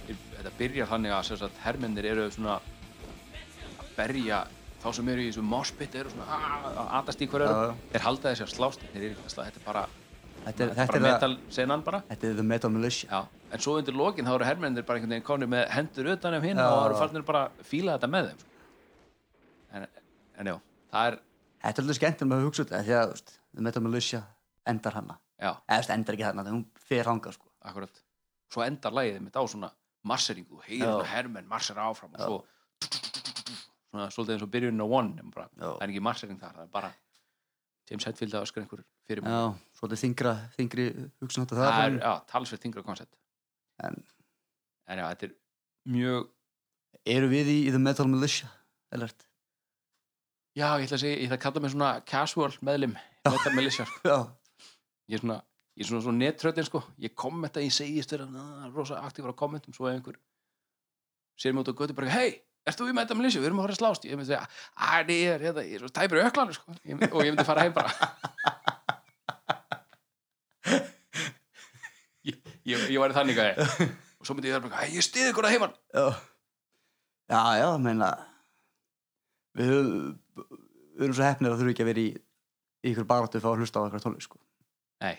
þetta byrjar þannig að sem sagt, hermennir eru svona að berja þá sem eru í þessu mospit eru svona "Ah", að atast í hverju
Já,
eru
já.
þeir halda þessi að slást þeir eru ekki að slá, þetta er bara,
þetta er,
bara
þetta er,
metal
það-
senan bara
þetta er the metal militia.
já. en svo undir lokin þá eru hermennir bara einhvern veginn konir með hendur utan um hinn
Já,
og
já,
eru
já.
farnir bara að fíla þetta með þeim sko. en, en já, það er
Þetta er alveg skemmt um að hugsa út af því að, þú veist, the metal militia endar hana.
já,
Eða, þú veist, endar ekki hana, hún fer hangað, sko.
akkurat svo endar lagið mitt á svona marseringu þú heiðir
Já.
svona hermenn marsera áfram og svo svona svolítið eins og byrjunin á one en bara,
Já.
það er ekki marsering þar, það er bara James Hetfield að öskra einhver fyrir mig
Já, svolítið þingra, þingri hugsun þetta
það
það.
er já, talsveit þingra koncept
En-
en já, þetta er mjög
Eru við í, í The Metal Militia? Ellert?
já, ég ætla að segja, ég ætla að kalla mig svona casual meðlim, metal militia sko.
Já.
ég er svona, ég er svona, svona nettröðin sko ég kommenta, ég segist vera "Ah, rosa aktífur á kommentum, svo ef einhver sér mig út á götu bara, hei Ert þú í metal militia? Við erum að fara að slást. Ég myndi segja, að ég er, hérna, ég er svo tæpur í öklanum, sko. Ég, myndi- og ég myndi fara heim bara. ég, ég, ég væri þannig að ég. Og svo myndi ég vera bara, "Hey, ég stiði ykkur að heimann.
Já, já, já meina, við höfum, við erum svo hefnir að þurfum ekki að vera í, í ykkur baráttu fyrir að hlusta á ykkur tónlist, sko.
Nei,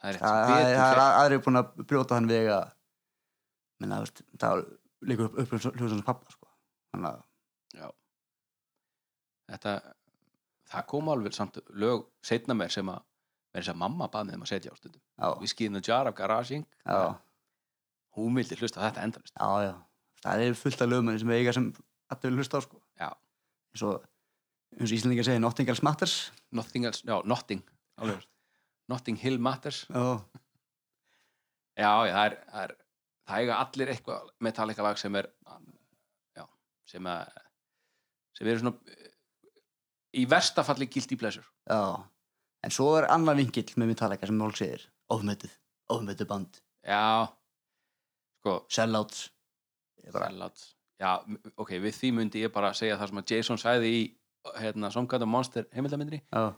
það er rétt.
Það
Betur
það- það
fer.
er aðrið búin að brjóta hann vega, meina, þú veist, það líkur upp, upp hljóðsans pappa, sko. Þannig að,
þetta, það kom alveg samt lög setna mér sem að mér þess að mamma baði þeim að setja á stundum
já,
við skýðum að jar af garasing
já,
hún vildi hlusta á þetta endalist
já, já, það er fullt af lögum sem eiga sem allir vil hlusta á, sko.
Já.
Eins og, eins og Íslandingar segja, nothing else matters.
Nothing, else, já, Notting alveg rétt. Notting Hill Matters já,
Já,
já, það er, það er það eiga allir eitthvað Metallica lag sem er já, sem að sem eru svona eh, í versta falli guilty pleasure
Já, en svo er annar vingill með Metallica sem fólk segir ofmötuð, ofmötuð band,
já, sko
sellouts Ég bara,
Sellout. Já, m- ok, við því myndi ég bara segja það sem að Jason sagði í hérna, Somgata Monster heimildamindri
já,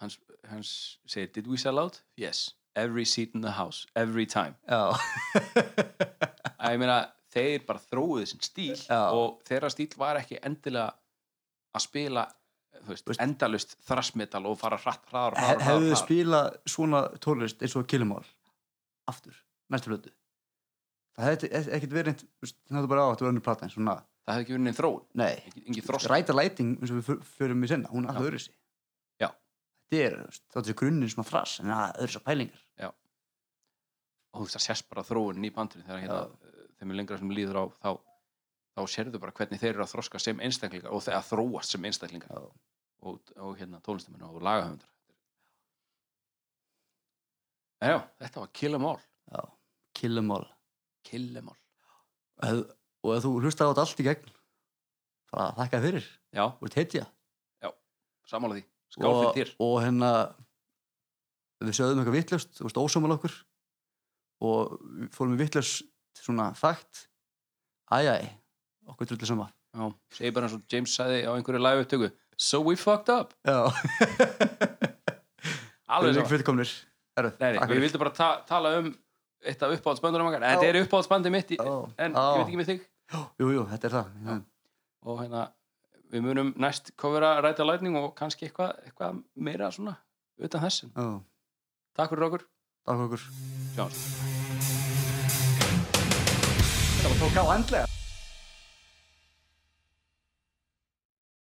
hans, hans segir, did we sell out? Yes, every seat in the house, every time
já,
að ég meina, þeir bara þróuðu sinn stíl
Já.
og þeirra stíl var ekki endilega að spila þú veist,
Veist-
endalust þrassmetal og fara hratt, hraðar,
He-
hraðar,
hefðu
hraðar,
þið
hraðar.
spila svona tónlist eins og Killimall aftur, næstu blötu það hefði e- ekkert verið neitt, þú veist, það hefði bara á að þetta var önnur plata en svona,
það hefði ekki verið neinn þróun,
nei
engin, engin þrosk
Ræta læting, eins og við för- förum í senna, hún
Já.
er alltaf öðru sig
Já.
Þetta er, þú veist, þáttu grunninn svona þrass en það er öðru svo pælingar
og þú veist það sérst bara þróunin í bandinu þegar hérna, eh, þeim er lengra sem líður á þá, þá sérðu bara hvernig þeir eru að þroska sem einstaklingar og þeir að þróast sem einstaklingar
Já.
og, og hérna tónlistamenn og lagahöfundar En Já, þetta var Kill 'em all
Killimall
Kill 'em all
og, ef- og ef þú hlustaði á þetta allt í gegn það þakka fyrir,
Já,
þú ert heitja
samála því, skál fyrir þér
og hérna við sögðum eitthvað vittlust, þú veist, ósámal okkur og við fórum við vittlust svona fakt æjæ, okkur drullu sama
Já, segi bara eins og James sagði á einhverju live upptöku So we fucked up
já, við
Alveg
erum
svo
ekki fullkomnir Heru,
Nei, nei, við vildum bara ta tala um eitt af uppáhaldsböndunum okkar
Já.
Þetta er uppáhaldsbandi mitt í,
Já.
en
Já.
ég veit ekki með þig
jú, jú, þetta er það já,
og hérna við munum næst kofura ræta lætning og kannski eitthvað, eitthvað meira svona utan þessin.
já,
Takk fyrir okkur,
takk okkur
sjáumst.
það var tók á andlega